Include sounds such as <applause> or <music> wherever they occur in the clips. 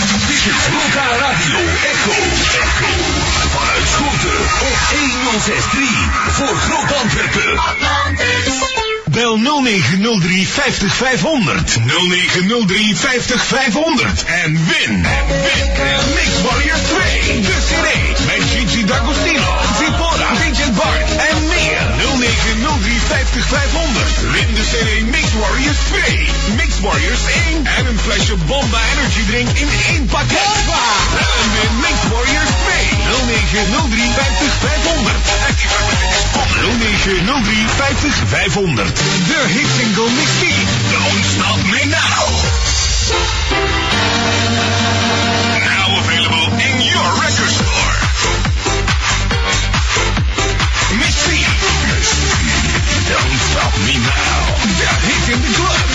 Dit is Roca Radio Echo. Echo. Vanuit Schoten op 1063 voor Groot Antwerpen. Bel 0903 50 500. 0903 50 500. En win. En win. Mix Warriors 2. De CD. Met Gigi D'Agostino. Zipora. Vincent Bart. En meer. 0903 50 500. Win de CD Mix Warriors 2. Mix Warriors 1. En een flesje Bomba Energy Drink in één pakket. En win Mix Warriors 2. 0903 50 500. En die verkrijgt op 0903 50 500. De hit single Mix D. Don't stop me now. Now available in your record store. Miss D. Don't stop me now. The hit in the club.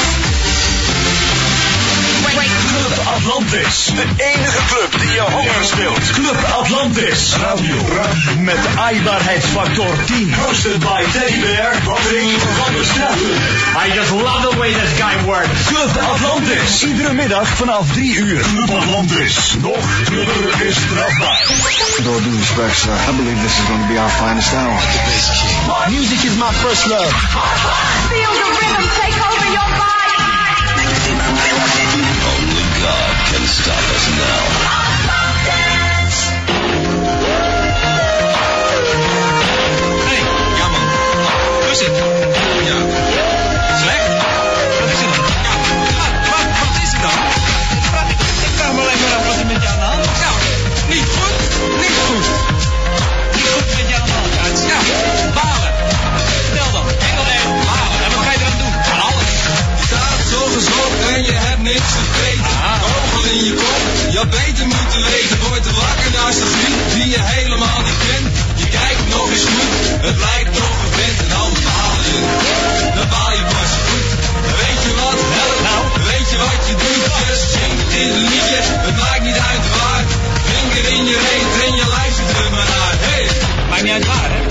Club Atlantis. De enige club die je honger speelt. Club Atlantis. Radio. Met aaibaarheidsfactor 10. Hosted by Teddy Bear. Patrick van der Straten. I just love the way this guy works. Club Atlantis. Iedere middag vanaf 3 uur. Club Atlantis. Nog drukker is strafbaar. Door due respect, sir, I believe this is going to be our finest hour. Music is my first love. Feel the rhythm take over your body. Only God can stop us now. Hey, ja man. Hoe is het? Ja. Slecht? Wat is het dan? Ja, wat, wat, wat is het dan? Wat, ik vraag me alleen maar af wat er met jou aan de hand is. Nou, niet goed. Niet goed. Niet goed met jou aan de hand. Ja, het is- ja, balen. Vertel dan. Enkel en balen. En wat ga je eraan doen? Aan alles. Staat zo gezocht en je hebt niks vergeten. Kogel in je kop, je had beter moeten weten. Wordt te wakker naast een vriend die je helemaal niet kent. Je kijkt nog eens goed, het lijkt nog een vent. En dan baal je, dan baal je pas goed. Dan Weet je wat, help nou, dan weet je wat je doet. Just zing het in een liedje, het maakt niet uit waar. Vinger in je reet en je luistert er maar naar. Hey. Maakt niet uit waar, hè?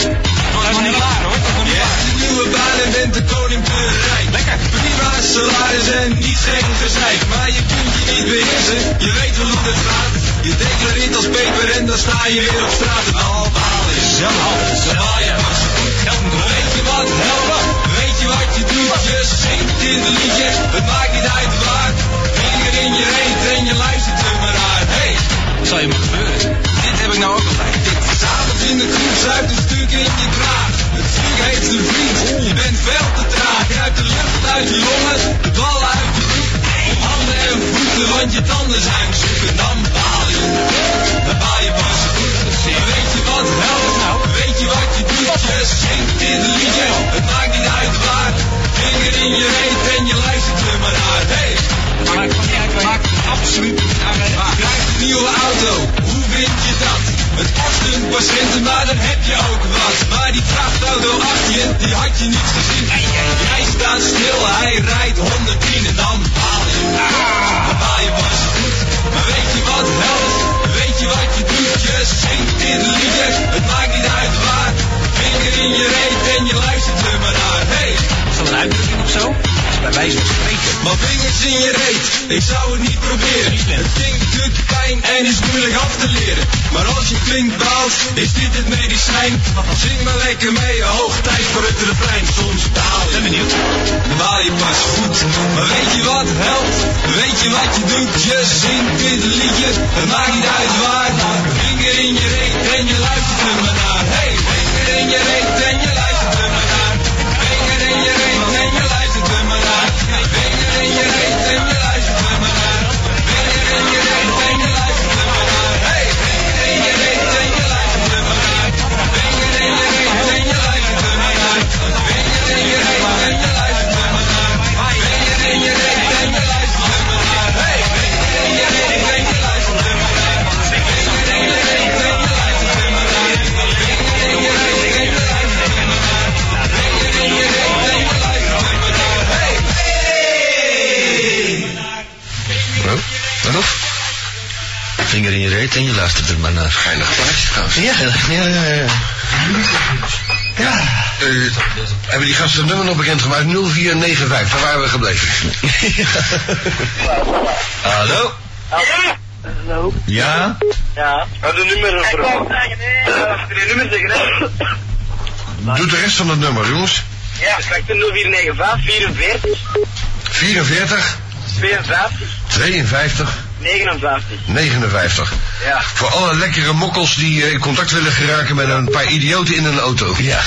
Dat is niet waar, hoor. Je hebt een nieuwe baan en bent de koning te rijk. Lekker. Prima salaris en niet gek gezeik. Maar je kunt je niet beheersen, je weet wel hoe het gaat. Je declareert als paper en dan sta je weer op straat. En al baal is zelf al, zo baal je maar zo goed kan. Weet je wat, helpen? Weet je wat je doet? Just zing het in de liedjes, het maakt niet uit waar. Vinger in je reet en je luistert er maar naar. Hey, zal je maar gebeuren. Dit heb ik nou ook altijd. Dit s'avonds in de kroeg zuipt een stuk in je kraag. Het stuk heeft een vriend, je bent veel te traag. Kruipt de lucht uit je longen, de bal uit je broek. Om handen en voeten, want je tanden zijn zoeken. Dan baal je, dan baal je pas goed. Maar weet je wat helpt nou? Weet je wat je doet? Je zingt in een liedje, het maakt niet uit waar. Vinger in je reet en je luistert er maar naar. Hey. Maakt maakt absoluut niet uit. Krijgt een nieuwe auto, hoe vind je dat? Het kost een paar centen, maar dan heb je ook wat. Maar die vrachtauto achter je, die had je niet gezien. Jij staat stil, hij rijdt 110 en dan baal je. Dan baal je pas goed. Maar weet je wat helpt? Weet je wat je doet? Je zingt in een liedje, het maakt niet uit waar. Vinger in je reet en je luistert er maar naar. Hey. Is dat een uitdrukking of zo? Bij wijze van spreken. Maar vingers in je reet, ik zou het niet proberen. Het klinkt doet pijn en is moeilijk af te leren. Maar als je klinkt baalt, is dit het medicijn. Zing maar lekker mee, hoog tijd voor het refrein. Soms baal je. Ben benieuwd. Dan baal je pas goed. Maar weet je wat helpt? Weet je wat je doet? Je zingt dit liedje. Het maakt niet uit waar. Vinger in je reet en je luistert er maar naar. Hey, vinger in je reet en je luistert er maar naar. Vinger in je reet en je luistert er maar naar. Vinger in je reet en je luistert er maar naar. Vinger in je reet en je luistert er maar naar. Hey, vinger in je reet en je luistert er maar naar. Vinger in je reet en je luistert er maar naar. Vinger in je reet en je luistert er maar naar. Vinger in je reet en je luistert er maar naar. Hey, vinger in je reet en je luistert er maar naar. Vinger in je reet en je luistert er maar naar. Vinger in je reet en je luistert er maar naar. Vinger in je reet en je luistert er maar naar. Hey, hey. Nou, waarop? Vinger in je reet en je luistert er maar naar. Geinig plaatje trouwens. Ja, ja, ja. ja. Ja. Eh, hebben die gasten het nummer nog bekendgemaakt? 0495, waar waren we gebleven? <laughs> Hallo? Ja? Hallo? Ja? Ja. Had een nummer Ik wou ervoor. zeggen, hè. Ja, je nummer zeggen, hè? Doe de rest van het nummer, jongens. Ja, straks een 0495 44 44, 52 52, 59. 59. Ja. Voor alle lekkere mokkels die eh, in contact willen geraken met een paar idioten in een auto. Ja.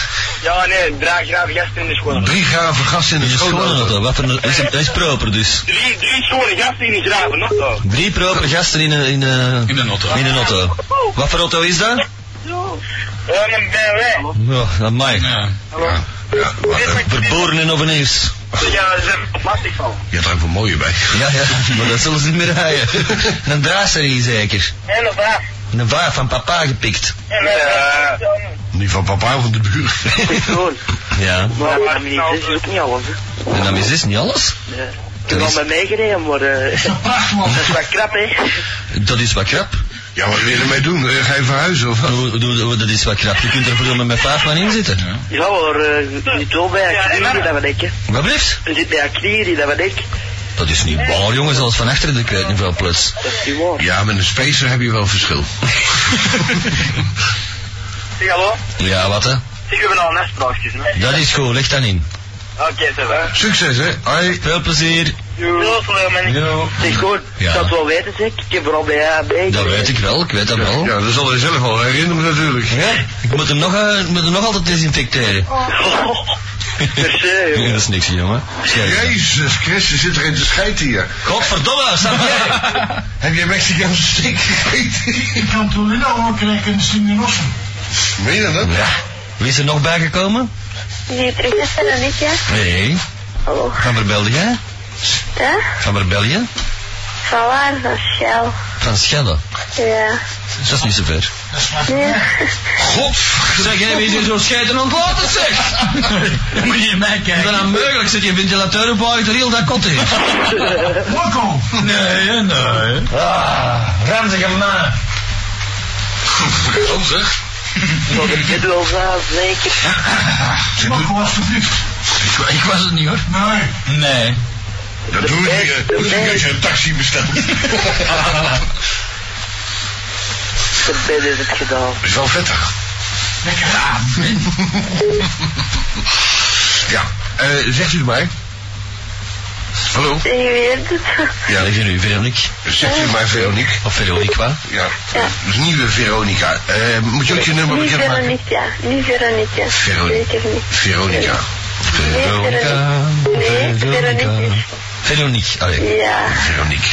Ja, nee, draag graag gasten in de school. Drie graven gasten in Je een schoonauto. schoonauto, wat een... Dat is, dat is proper dus. Drie, drie schone gasten in die graven, nog zo. Drie proper gasten in een... In een, In de auto. in een auto. Wat voor auto is dat? Ja, dan ben wij. Ja, dat mij. Ja. Ja. Ja, wat, eh, Verboren en ovenigens. Ja, daar zijn we plastic van. je hebt er ook wel mooie bij. Ja, ja, maar dat zullen ze niet meer rijden. Een draaiserie zeker. En op af. Een vaar van papa gepikt. En ja. Niet van papa of van de buur. Gewoon. Ja. Maar dat is niet- dit is ook niet alles. hè. En dan is dit niet alles. Nee. Ik heb al bij meegenomen, maar eh, <laughs> dat is wat krap, hè. Dat is wat krap. Ja, wat wil je ermee doen? Eh, Ga je verhuizen of wat? Hoe- hoe- hoe- Dat is wat krap. Je kunt er voor met vijf man in zitten. Ja, maar eh, zit wel bij Akiri, dat wat ik, hè. Wat blijft? Je zit bij Akiri, dat wat ik. Dat is niet waar, jongen. Zelfs van achteren de kwijt niet veel plus. Dat is niet waar. Ja, met een spacer heb je wel verschil. Zeg hallo. <laughs> Ja, wat hè? Zeg, we hebben al een afspraakje, hè? Dat is goed. Leg dan in. Oké, zeg maar. Succes, hè? Hoi. Veel plezier. Yo, hallo, man. Yo. Zeg gewoon, Ja. dat wel weten, zeg. Ik heb er al bij haar bij. Dat <laughs> weet ik wel. Ik weet dat wel. Ja, dat zal je zelf al herinneren natuurlijk. Oh. Ja. Ik moet hem nog, eh, ik moet hem nog altijd desinfecteren. Per se, joh. Ja, dat is niks, jongen. Schijt. Jezus Christus, zit er in te scheiden hier. Godverdomme, sta jij. Heb jij Mexicaanse steek gegeten? Ik kan toen in al krijgen en zien in Ossen. Meen je dat ook? Ja. Wie is er nog bijgekomen? Die terug is er dan niet, ja? Nee. Oh, Van waar belde jij? hè? Van waar bel je? Van waar? Van Shell. Van Schelle. Ja. Dat is niet zo ver. <laughs> Nee. God, zeg jij, wie is hier zo'n scheiden ontlaten, zeg? <laughs> Moet je mij kijken. Dat is dan mogelijk, zit je ventilateur op waar je er heel dat kot in. Mokko! Nee, nee. Ah, ranzige man. Kom zeg. Maar dat zit wel zo, zeker. Mokko was verliefd. Ik was het niet, hoor. Nee. Nee. Dat doe je de niet best. als je een taxi <laughs> bestelt. De bed is het gedaan. is wel vettig. Lekker raam. Ja, Eh zegt u het mij? Hallo? Je weet het. Ja, leg je nu, Veronique. Zegt u het mij, Veronique? Of Veronica. Ja, dus nieuwe Veronica. Eh, moet je ook je nummer Nu bekend maken? Veronica. Nu Veronica. Veronique. Zeker niet. Veronica. Veronica. Nee, Veronique. Veronique, allee. Ja. Veronique.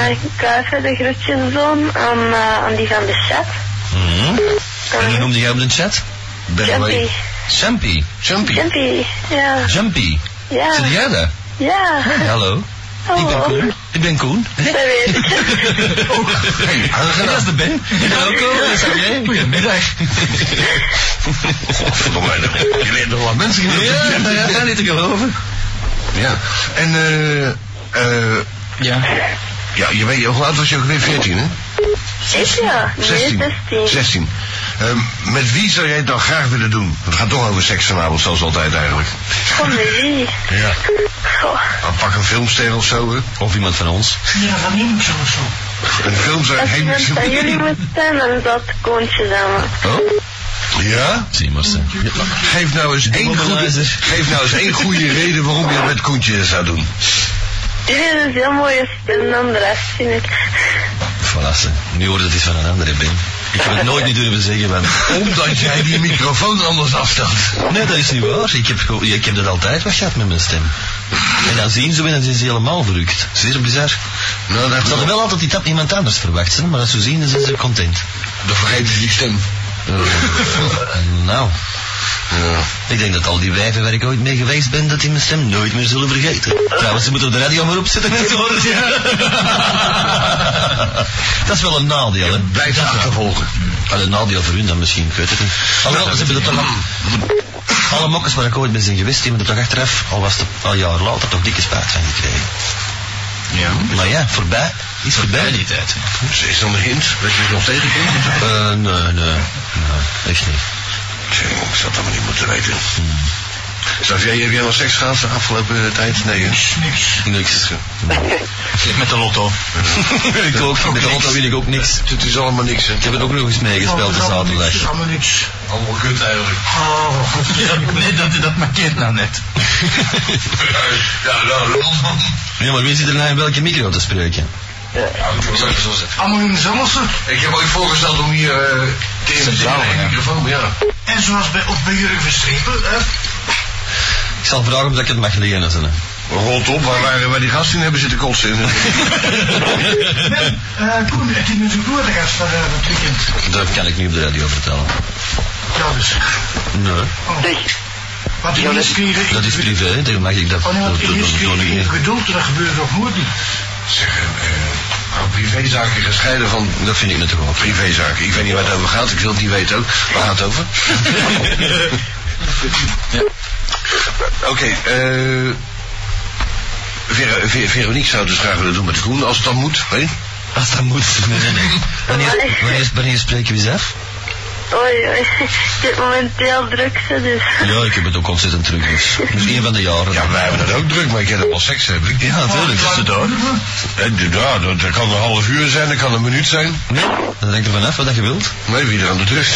Eh, ik wou even de groetjes doen aan, eh, aan die van de chat. Mhm. En hoe Eh, noemde jij hem in de chat? Ben Jumpy. wij. Jumpy. Jumpy. Jumpy. Ja. Jumpy. Ja. Zit jij daar? Ja. <laughs> Hallo. Ik ben Hallo. Koen. Ik ben Koen. Dat <laughs> weet ik. Hey, aangenaam. Dat is de Ben. Welkom, dat is jij. Goedemiddag. Godverdomme, je leert nog wat mensen kennen. Ja, nou ja, ja, niet te geloven. Ja. En, eh, eh, Ja. ja, je weet, hoe oud was je ook weer? 14, hè? Ik ja. Nee, 16. 16. 16. Ehm, met wie zou jij het dan graag willen doen? Het gaat toch over seks vanavond, zoals altijd eigenlijk. Kom mee. Ja. Goh. Dan pak een filmster of zo, hè? Of iemand van ons. Ja, van Imps of zo. Een filmster, Als Henk. iemand van jullie moet zijn, dan zal het Koontje zijn. maar- Oh, Ja? zie maar eh. ze. Geef nou eens één goede, Bommeluizer. geef nou eens één <laughs> goede reden waarom je dat met Koentje zou doen. Die heeft een heel mooie stem dan de rest, vind ik. Voilà, ze. Nu hoort het iets van een andere Ben. Ik heb het nooit niet durven zeggen, want... Omdat jij die microfoon anders afstelt. Nee, dat is niet waar. Dus Ik heb, gewoon- ik heb dat altijd wat gehad met mijn stem. En dan zien ze me en dan zijn ze helemaal verrukt. Zeer bizar. Nou, dat, Ze hadden wel altijd die tap iemand anders verwacht, hè, maar als ze zien, dan zijn ze content. dan vergeten ze die stem. <laughs> nou, Ja. ik denk dat al die wijven waar ik ooit mee geweest ben, dat die mijn stem nooit meer zullen vergeten. Trouwens, ze moeten op de radio maar opzetten en ze horen het. <laughs> Dat is wel een nadeel, hè? Blijf ze achtervolgen. Ah, een nadeel voor hun dan misschien, ik weet het niet. Alhoewel, ze hebben dat toch al- Alle mokkers waar ik ooit ben zijn geweest, die hebben er toch achteraf, al was het al jaar later, toch dikke spaat van gekregen. Ja. Maar ja, voorbij. Is voorbij die tijd. Ze is dan de hint. Weet je het nog tegenkomt? Eh, nee, nee. Nee, echt niet. Hmm. Tjie, Ik zou dat maar niet moeten weten. Xavier, heb jij nog seks gehad de afgelopen eh, tijd? Nee, Niks, niks. Niks. <laughs> Met de lotto. <laughs> ik ook. met de lotto weet ik ook niks. Het is allemaal niks, hè. Ik heb het ook nog eens meegespeeld de zaterdag. Het is allemaal niks. Allemaal kut eigenlijk. Oh, nee, dat, dat markeert nou net. <laughs> ja, nou, Ja, maar wie zit er nou in welke micro te spreken? Ja, Allemaal in dezelfde? Ik heb ooit voorgesteld om hier eh tegen de microfoon, maar ja. En zoals bij, of bij Jurgen Verstrepen, hè? Ik zal vragen of ik het mag lenen. Zo. Rolt op, waar, waar, waar die gasten in hebben zitten kotsen. <laughs> in. eh, Nee, eh, Koen, het is natuurlijk door de gast van eh, dat weekend. Dat kan ik niet op de radio vertellen. Ja, dus. Nee. Wat ik niet schreef, Dat is privé, hè. dat mag ik dat Oh nee, want dat- ik dat- dat- dat- misdreef dat- in geduld, dat gebeurt nog nooit niet. Zeg, eh, eh, privézaken gescheiden van... Dat vind ik natuurlijk wel. Privézaken. Ik weet niet waar het over gaat. Ik wil het niet weten ook. Waar gaat het <laughs> over? ja. Oké, eh... Ver- Ver- Veronique zou het dus graag willen doen met Koen, als het dan moet. Hè? Als dat moet. <laughs> Nee, nee, nee. Wanneer, wanneer, wanneer spreken we eens af? Oei, oei. Ik heb momenteel druk, hè, dus. Ja, ik heb het ook ontzettend druk. Dus, dus een van de jaren. Ja, wij hebben dat ook druk, maar ik heb wel seks hebben. Ja, natuurlijk. Is het ook. En, Eh, ja, dat, dat kan een half uur zijn, dat kan een minuut zijn. Nee, dat hangt er vanaf wat dat je wilt. Nee, wie er aan de druk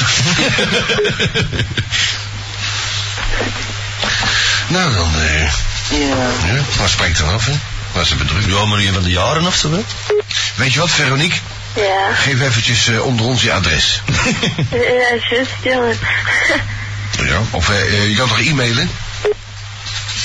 <laughs> Nou dan, eh... Ja. Ja, maar spreekt dan af, hè? Was ze bedrukt? Ja, maar een van de jaren of zo wel? Weet je wat, Veronique? Ja. Geef eventjes eh, onder ons je adres. Ja, juist, jongen. <laughs> ja, of eh, eh, je kan toch e-mailen?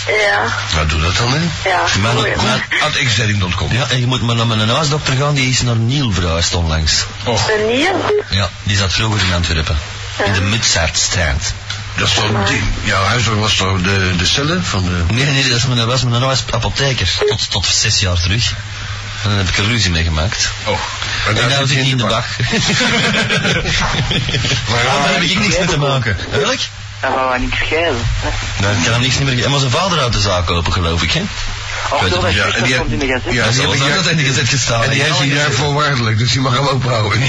Ja. Nou, doe dat dan, hè? Ja. Maar- Oei, maar- At xzetting.com. Ja, en je moet maar naar mijn huisdokter gaan, die is naar Niel verhuisd onlangs. Och, Ben je? Ja, die zat vroeger in Antwerpen. In de Mutsaartstraat. dat is toch... Die, jouw huisdokter was toch de, de cellen van de... Nee, nee, dat is mijn, was mijn huis apotheker. Tot, tot zes jaar terug. En dan heb ik er ruzie mee gemaakt. Oh. En nou zit hij in de bak. <laughs> Maar Ah, daar heb ik niks mee te maken. Welk? Dan gaan we niks schelen. Nee, ik kan hem niks niet meer... En was zijn vader uit de zaak open, geloof ik, hè? Och, weet zo, het Ja, dat is niet. echt en die- dat komt in de gazette. ja, dat die zal heb ik wel daar- dat in de gezet gestaan. En die heeft hij daar voorwaardelijk, dus die mag hem ook <laughs> houden.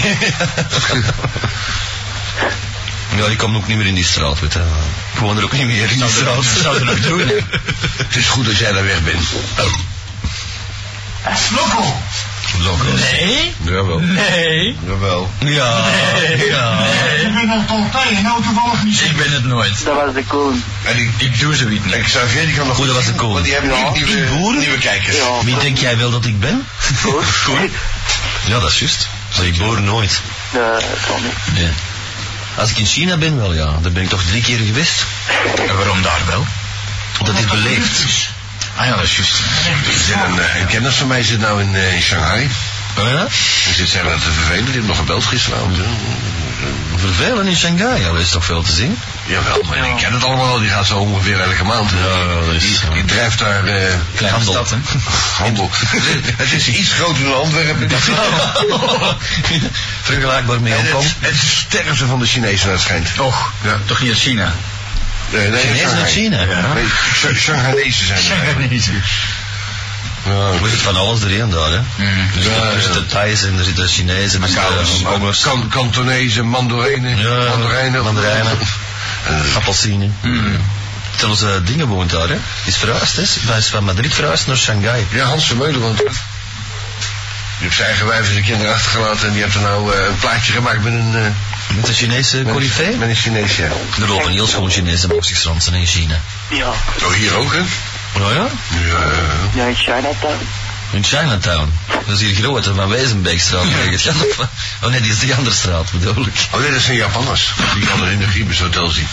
Ja, die kwam ook niet meer in die straat, weet je. Gewoon er ook niet meer in die straat. Zou ze nog doen? Het is goed dat jij daar weg bent. Slokko! Lokker. Nee? Jawel. Nee. Jawel. Ja. Ja. Ik ben al altijd, nou toevallig niet. Ik ben het nooit. Dat was de koning. En die, Ik doe zoiets ik zou zeggen, die kan nog Goed, dat was een koning. Want die hebben Ja. niet nieuwe, Die boeren? nieuwe kijkers. Ja. Wie denk jij wel dat ik ben? Goed. Ja, dat is juist. Zo, ik boor nooit. Dat kan niet. Nee. Als ik in China ben, wel ja. Dan ben ik toch drie keer geweest. En waarom daar wel? Dat is beleefd. Ah ja, dat is juist. Er zit Een, eh, een kennis van mij zit nou in, eh, in Shanghai. Ja? Die zit zeggen dat te vervelen. Die heeft nog gebeld gisteravond. hè. Vervelen in Shanghai, ja, dat is toch veel te zien? Jawel, maar ik ken het allemaal. Die gaat zo ongeveer elke maand. eh, Ja, dat is- die, die drijft daar eh, Kleine handel. stad, hè? <laughs> handel. het is iets groter dan Antwerpen. Vergelijkbaar met En Hongkong. het, het sterren ze van de Chinezen naar het schijnt. Toch? Ja. Toch niet uit China? Nee, nee, Chinezen Shanghai. uit China. Ja. Nee, Sh- Shanghainese zijn eh, er. Zeg niet. Ja, Er zit van alles erin daar, hè. Er zitten- Ja, ja. Mm. Dus Er zitten Thais en er zitten Chinezen. Er zitten Hongkongers. Kan, Kantonese, Mandarijnen. Ja, Mandarijnen. mandarijnen. Eh, Appelsine. Zelfs eh, dingen woont daar, hè. Is verhuisd, hè. Hij is van Madrid verhuisd naar Shanghai. ja, Hans Vermeulen, want die heeft zijn eigen wijf en zijn kinderen achtergelaten en die heeft er nou eh, een plaatje gemaakt met een... eh, Met een Chinese met, coryfee. een- met een Chinees, ja. Er lopen heel schoon Chinezen boxingstransen in China. Ja. Oh, hier ook, hè? Oh ja? Ja, eh, Ja, in Chinatown. In Chinatown. Dat is hier groot, hè, van <laughs> Wezenbeekstraat. ergens. Ja, of- Oh nee, die is die andere straat, bedoel ik. Oh nee, dat zijn Japanners. Die kan er in de Griebus Hotel zien.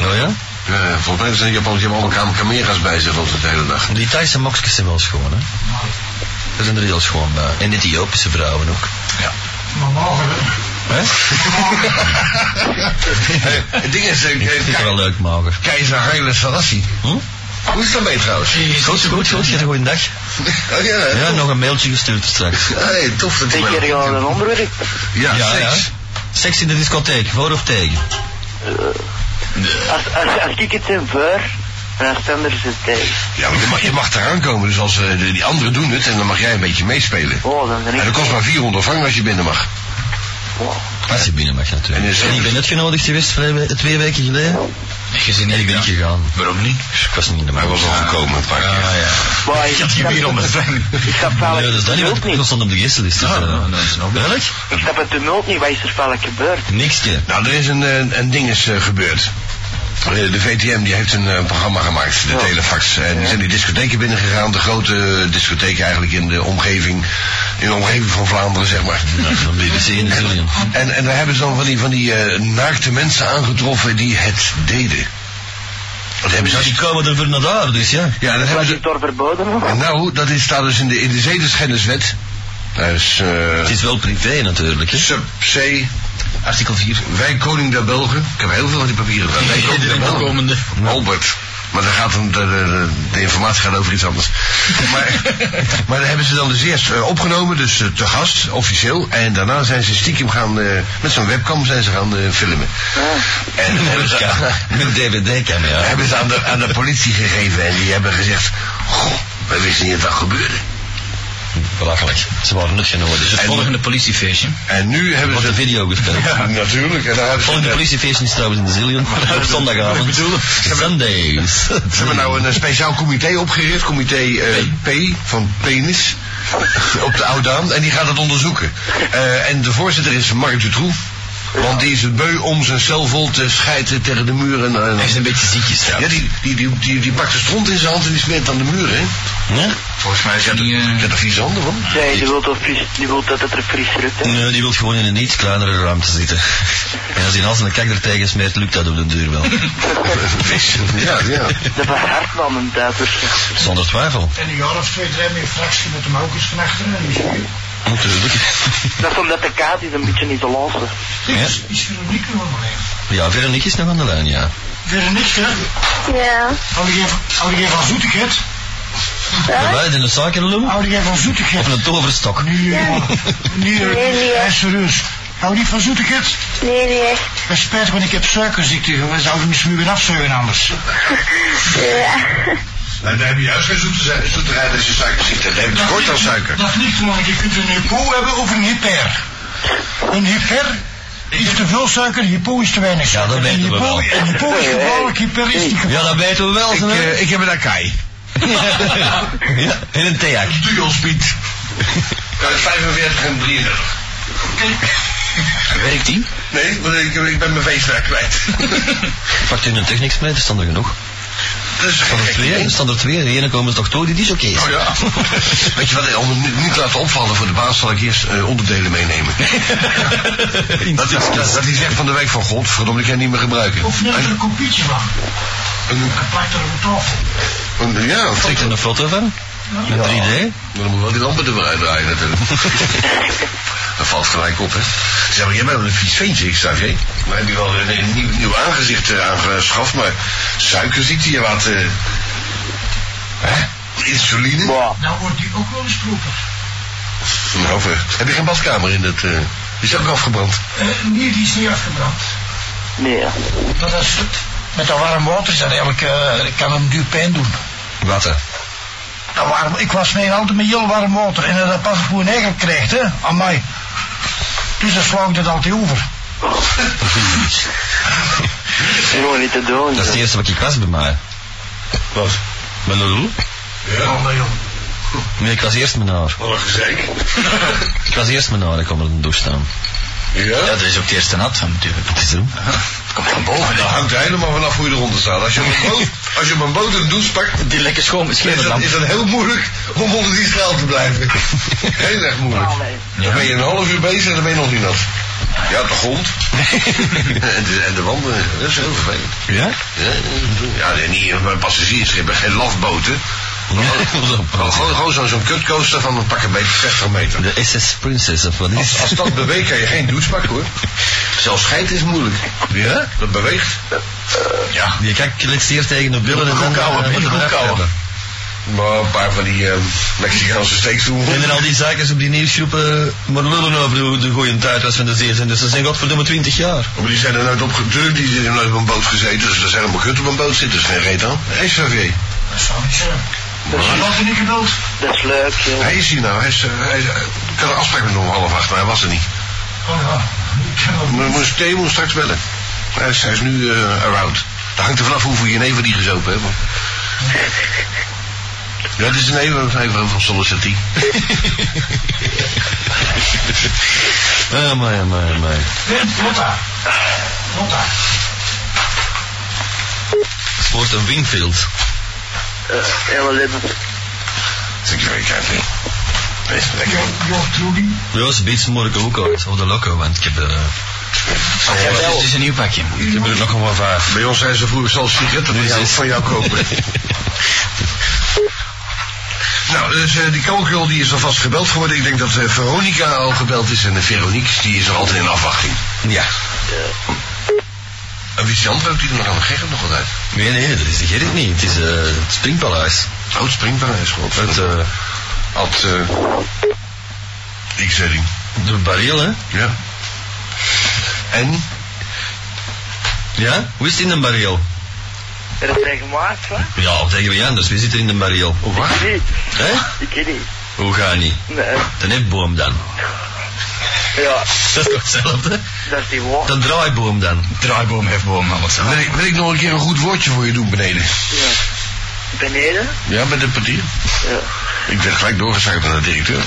Oh ja? Ja, Eh, volgens mij zijn Japanners, die hebben allemaal camera's bij zich altijd de hele <laughs> dag. Die Thaise mokjes zijn wel schoon, hè. Dat zijn er heel schoon bij. En Ethiopische vrouwen ook. Maar morgen wel. Hè? Eh, Het ding is, eh, Ik eh, vind het wel kei- leuk, mager. keizer Haile Selassie. Hm? Hoe is dat mee trouwens? Goed, goed, goed. Je hebt een goede dag. Oh ja, hè? Ja, nog een mailtje gestuurd straks. Hey, tof dat Twee hij- keer gaan een onderwerp. Ja, seks. hè? Seks in de discotheek, voor of tegen? Als, als, als ik het in voor, dan staan er ze tegen. Ja, maar je mag, je mag eraan komen. Dus als eh, de- die anderen doen het, en dan mag jij een beetje meespelen. Oh, dan ben ik... En dat kost maar 400 frank als je binnen mag. Oh. Als je binnen mag natuurlijk. En is- En ik ben net genodigd geweest, twee we- twee weken geleden. Gezien ik ben niet gegaan. Waarom niet? Ik was niet in de Hij Dus was al gekomen een paar keer. Ah, ja. Ik had je bier onder zijn. Ik snap Nee, vaak dat is dat niet, want ik stond op de geestenlist. Dus, eh, Welk? Ik snap het tumult niet, wat is er vaak gebeurd? Nikske. Nou, er is een, eh, een ding is eh, gebeurd. Eh, De VTM die heeft een eh, programma gemaakt, de Telefax. En die zijn die discotheken binnengegaan, de grote discotheek eigenlijk in de omgeving, in de omgeving van Vlaanderen, zeg maar. Dan ben je dus één zillion. En, en daar hebben ze dan van die, van die eh, naakte mensen aangetroffen die het deden. Dat hebben ze Ja, die komen er voor naar daar, dus ja. ja, dat hebben ze... door verboden of? En nou, dat is, staat dus in de, in de zedenschenniswet. Dat is... eh, Het is wel privé natuurlijk, hè. Sub C. Artikel 4. Wij koning der Belgen. Ik heb heel veel van die papieren. Wij koning der Belgen. Albert. Maar dan gaat hem, de, de, de, de informatie gaat over iets <laughs> anders. maar, maar dan hebben ze dan dus eerst eh, opgenomen, dus eh, te gast, officieel. En daarna zijn ze stiekem gaan, eh, met zo'n webcam zijn ze gaan eh, filmen. En hebben ze, Met een dvd-camera. hebben ze aan, de, aan de politie gegeven en die hebben gezegd... Goh, wij wisten niet dat dat gebeurde. Belachelijk. Ze waren nut genomen. Dus het En- volgende politiefeestje. En nu hebben Wordt ze... een video <laughs> gespeeld. Ja, natuurlijk. En daar hebben Het ze volgende politiefeestje is trouwens in de Zillion. <laughs> Op zondagavond. <laughs> Sundays. Ze hebben nou een eh, speciaal comité opgericht, comité eh, P van penis, op de Oudaan, en die gaat het onderzoeken. Eh, en de voorzitter is Mark Dutroux, want die is het beu om zijn cel vol te schijten tegen de muren. En, en- Hij is een beetje ziekjes ja, trouwens. die, die, die, die, die pakt de stront in zijn hand en die smeert aan de muren. hè. Ja? Volgens mij zijn Die, eh, er, zijn er vieze handen van. Nee, die wil toch fris- die wil dat het er fris rukt, hè? Nee, die wil gewoon in een iets kleinere ruimte zitten. En als hij een als een kijk er tegen smeert, lukt dat op de duur wel. Ja, ja. Dat was hard man, een Duivers. Zonder twijfel. En een jaar of twee, drie meer fractie met hem ook eens van achteren. en Is, Natuurlijk. Dat is omdat de kaart is een beetje niet te lossen. Ja, is, is Veronique nog maar even? ja Veronique is nog aan de lijn, ja. Veronique, hè? Ja. Hou jij van- hou jij van zoetigheid? En Wat? wij in de suikerloem? Hou jij van zoetigheid? Of een toverstok? Nu, eh, Ja. nu, eh, Nee, niet hij is serieus. Hou niet van zoetigheid? Nee, niet echt. Het spijt, want ik heb suikerziekte. We zouden misschien weer afzuigen anders. Ja. Nou, daar heb je juist geen zoete- zoeterij als je suikerziekte hebt. Het wordt al suiker. Dat ligt eraan. Je kunt een hypo hebben of een hyper. Een hyper is te veel suiker, hypo is te weinig Ja, dat suiker. weten een we hypo, wel. Een hypo is gevaarlijk, hyper is niet gevaarlijk. Ja, dat weten we wel, Ik, hè? eh, ik heb een Akai. <laughs> ja, in een theak. Duo speed. <laughs> Uit 45 en 33. Werkt die? Nee, want ik, ik ben mijn feestwerk <laughs> kwijt. Pakt u een technics mee, er staan er genoeg. Dat is Er staan er twee, er staan er twee. De ene komen ze toch door, die is oké. Oh ja. <laughs> Weet je wat, om het niet- niet te laten opvallen voor de baas zal ik eerst eh, onderdelen <laughs> meenemen. dat, is, dat, dat hij zegt van de week van godverdomme, ik kan het niet meer gebruiken. Of neem er een kopietje van. Een, En plak er op tafel. een, oh, ja, een Trekt er een foto van? Met 3D? Dan moet wel die lampen er weer uitdraaien <laughs> natuurlijk. dat valt gelijk op, hè. Ze zeggen, jij bent wel een vies ventje, ik sta, hè. Maar heb je wel een, een nieuw, nieuw aangezicht eh, aangeschaft, maar suikerziekte, je wat... eh, hè? Insuline? Maar, Nou wordt die ook wel eens proper. Nou, eh, heb je geen badkamer in dat... eh, die is ook afgebrand. Eh, nee, die is niet afgebrand. nee. Dat is, met dat warm water is dat eigenlijk, eh, kan hem duur pijn doen. Water. Dat warm, ik was mee altijd met heel warm water en dat dat pas gewoon eigen krijgt, hè, aan mij. Dus dan sla ik dat altijd over. Gewoon niet te doen. Dat is het eerste wat ik was bij mij. Wat? Met een roep? Ja, Oh, maar joh. Oh, Nee, ik was eerst mijn haar. Wat een <laughs> gezeik. Ik was eerst mijn haar, ik kwam er een douche staan. ja? dat is ook het eerste nat van natuurlijk. Het is zo. Kom van boven. Dat hangt er helemaal vanaf hoe je eronder staat. Als je op een <laughs> boot, als je op een boot een douche pakt, Die lekker schoon is dat, is dat heel moeilijk om onder die straal te <laughs> blijven. Heel erg moeilijk. Dan ben je een half uur bezig en dan ben je nog niet nat. Ja, de <laughs> grond. en, de, en de wanden, dat is heel vervelend. Ja? Ja, Ja, nee, niet bij passagiersschip, geen lafboten. <laughs> Gewoon, gewoon zo'n- zo'n kutcoaster van een pak een beetje 60 meter. De SS Princess of wat is Als, als het? dat beweegt, kan je geen douche pakken hoor. Zelfs schijt is moeilijk. Ja? Dat beweegt. Ja. Die kijk kletseert tegen de billen en dan... Koekouwen, eh, met moet de eraf koekouwen. hebben. Maar een paar van die eh, Mexicaanse steaks doen. En dan al die zakers op die nieuwsgroepen maar lullen over hoe de goede tijd was van de zeerzenders. Dus ze zijn godverdomme 20 jaar. Maar die zijn er nooit op gedrukt, die zijn er nooit op een boot gezeten. Dus er zijn helemaal kut op een boot zitten, dus geen reet aan. SVV. Dat zou ik zeggen. Dat is nog niet geduld. Dat is leuk, joh. Hij is hier nou, hij, is, eh, hij, is- ik had een afspraak met hem om half acht, maar hij was er niet. Oh ja, ik kan wel- Maar moest Theo straks bellen. Hij is, hij is nu eh, around. Dat hangt er vanaf hoeveel je neven die gezopen hebben. <laughs> Ja, dat is een even, even van Sollicity. <laughs> Ah, maar, maar, maar. Lotta. Lotta. Sport en Wingfield. Helemaal lippen. Security. Wees lekker. Jo, Trudy. Ja, ze biedt ze morgen ook uit. Of de loco, want ik heb... eh, ja, het is- wel. het is een nieuw pakje. Ik heb er nog een wat vijf. Bij ons zijn ze vroeger zelfs sigaretten van jou, van jou kopen. Nou, dus eh, die kookgul die is alvast gebeld geworden. Ik denk dat eh, Veronica al gebeld is. En eh, Veronique, die is er altijd in afwachting. Ja. En wie is die andere? Die doet nog aan de Gerrit nog altijd. Nee, nee, dat is de Gerrit niet. Het is eh, het Springpaleis. Oh, het Springpaleis, gewoon. Het, eh... Ad, Ik zei die. De baril, hè? Ja. En? Ja? Hoe is het in de baril? Heb je dat gemaakt, wat? <laughs> Ja, of tegen wie anders? Wie zit er in de baril? Oh, Wat? Ik weet niet. Hè? Ik weet niet. Hoe ga je niet? Nee. De nepboom dan. <laughs> Ja, Dat is toch hetzelfde? dat is die woord. De draaiboom dan. Draaiboom, hefboom, alles. Wil ik, wil ik nog een keer een goed woordje voor je doen beneden? Ja. Beneden? Ja, bij de portier. Ja. Ik werd gelijk doorgeschakeld naar de directeur.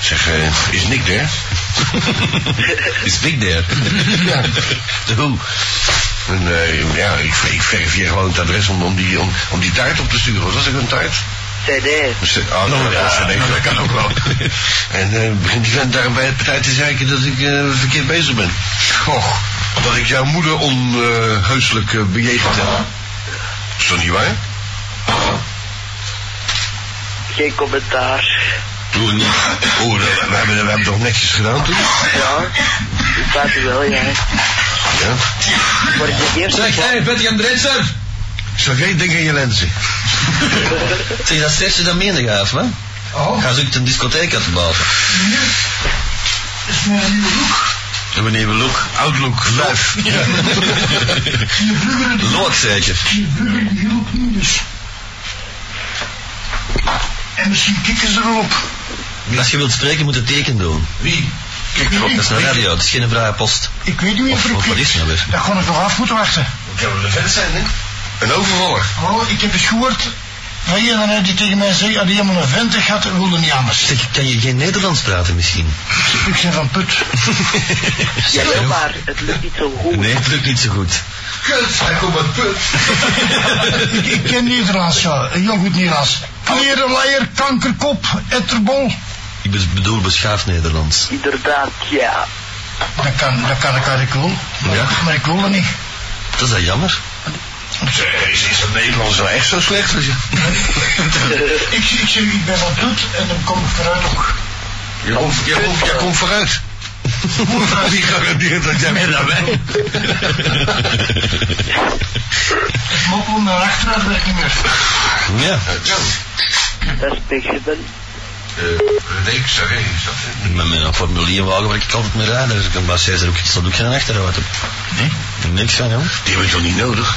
zeg, eh, is Nick er? Is big there. ja. De hoe? En, eh, ja, ik, ik verifieer gewoon het adres om, om, die, om, om die taart op te sturen. Wat was ik een taart? CD. Dus, eh, Ah, nou, ja, ja, nee, dat kan ook wel. En eh, begint die vent daar bij het partij te zeiken dat ik eh, verkeerd bezig ben. Och, dat ik jouw moeder onheuselijk eh, bejegend heb. Is dat niet waar? Geen commentaar. Toen niet. Oeh, dat- we hebben, we hebben toch netjes gedaan toen? Ja. Ik praat er wel, ja. Ja. Maar ik heb eerst... hey, ben je een drenser? Zo geen ding aan je lenzen. Zeg, dat stress je dan minder gaaf, hè? Oh, Ga zoeken een discotheek uit te bouwen. dat is mijn nieuwe look. Een nieuwe look. Outlook <laughs> live. Die vlugger, die Look zeker. vlugger, die hielp niet dus. En misschien kikken ze erop. Als je wilt spreken moet je teken doen. Wie? Ik weet Dat is niet, een radio, dat is geen vrije post. ik weet niet of Of erop wat is klikt. het nou weer? Daar kon ik nog af moeten wachten. Kunnen we er verder zijn, hè? Een overvaller. Oh, ik heb eens gehoord van iedereen die tegen mij zei, als die helemaal een vent had, wilde niet anders. Zeg, kan je geen Nederlands praten misschien? Ik zei van put. Ja, wel, maar het lukt niet zo goed. Nee, het lukt niet zo goed. Kut, hij komt uit put. <laughs> Ik ken Nederlands, ja. Heel goed Nederlands. Klerenleier, kankerkop, etterbol. Ik be- bedoel beschaafd Nederlands. Inderdaad, ja. Dat kan, dat kan ik uit ik wil. Ja. Maar ik wil er niet. Dat is dat jammer. Is, is dat Nederlands nou echt zo slecht? als je- <laughs> Ik, zie- ik, zeg, ik ben wat doet en dan kom ik vooruit ook. Je komt, je komt, je komt <laughs> vooruit. Wie garandeert dat jij meer dan wij? Ik mop om naar achteruit werk niet meer. Ja. Dat is pigment. Nee, sorry. is dat het? Met mijn formulierwagen waar dus ik altijd mee rijd, daar kan Bas er ook, staat ook geen achteruit op. Nee? Niks van hem. <laughs> Die heb ik toch niet nodig?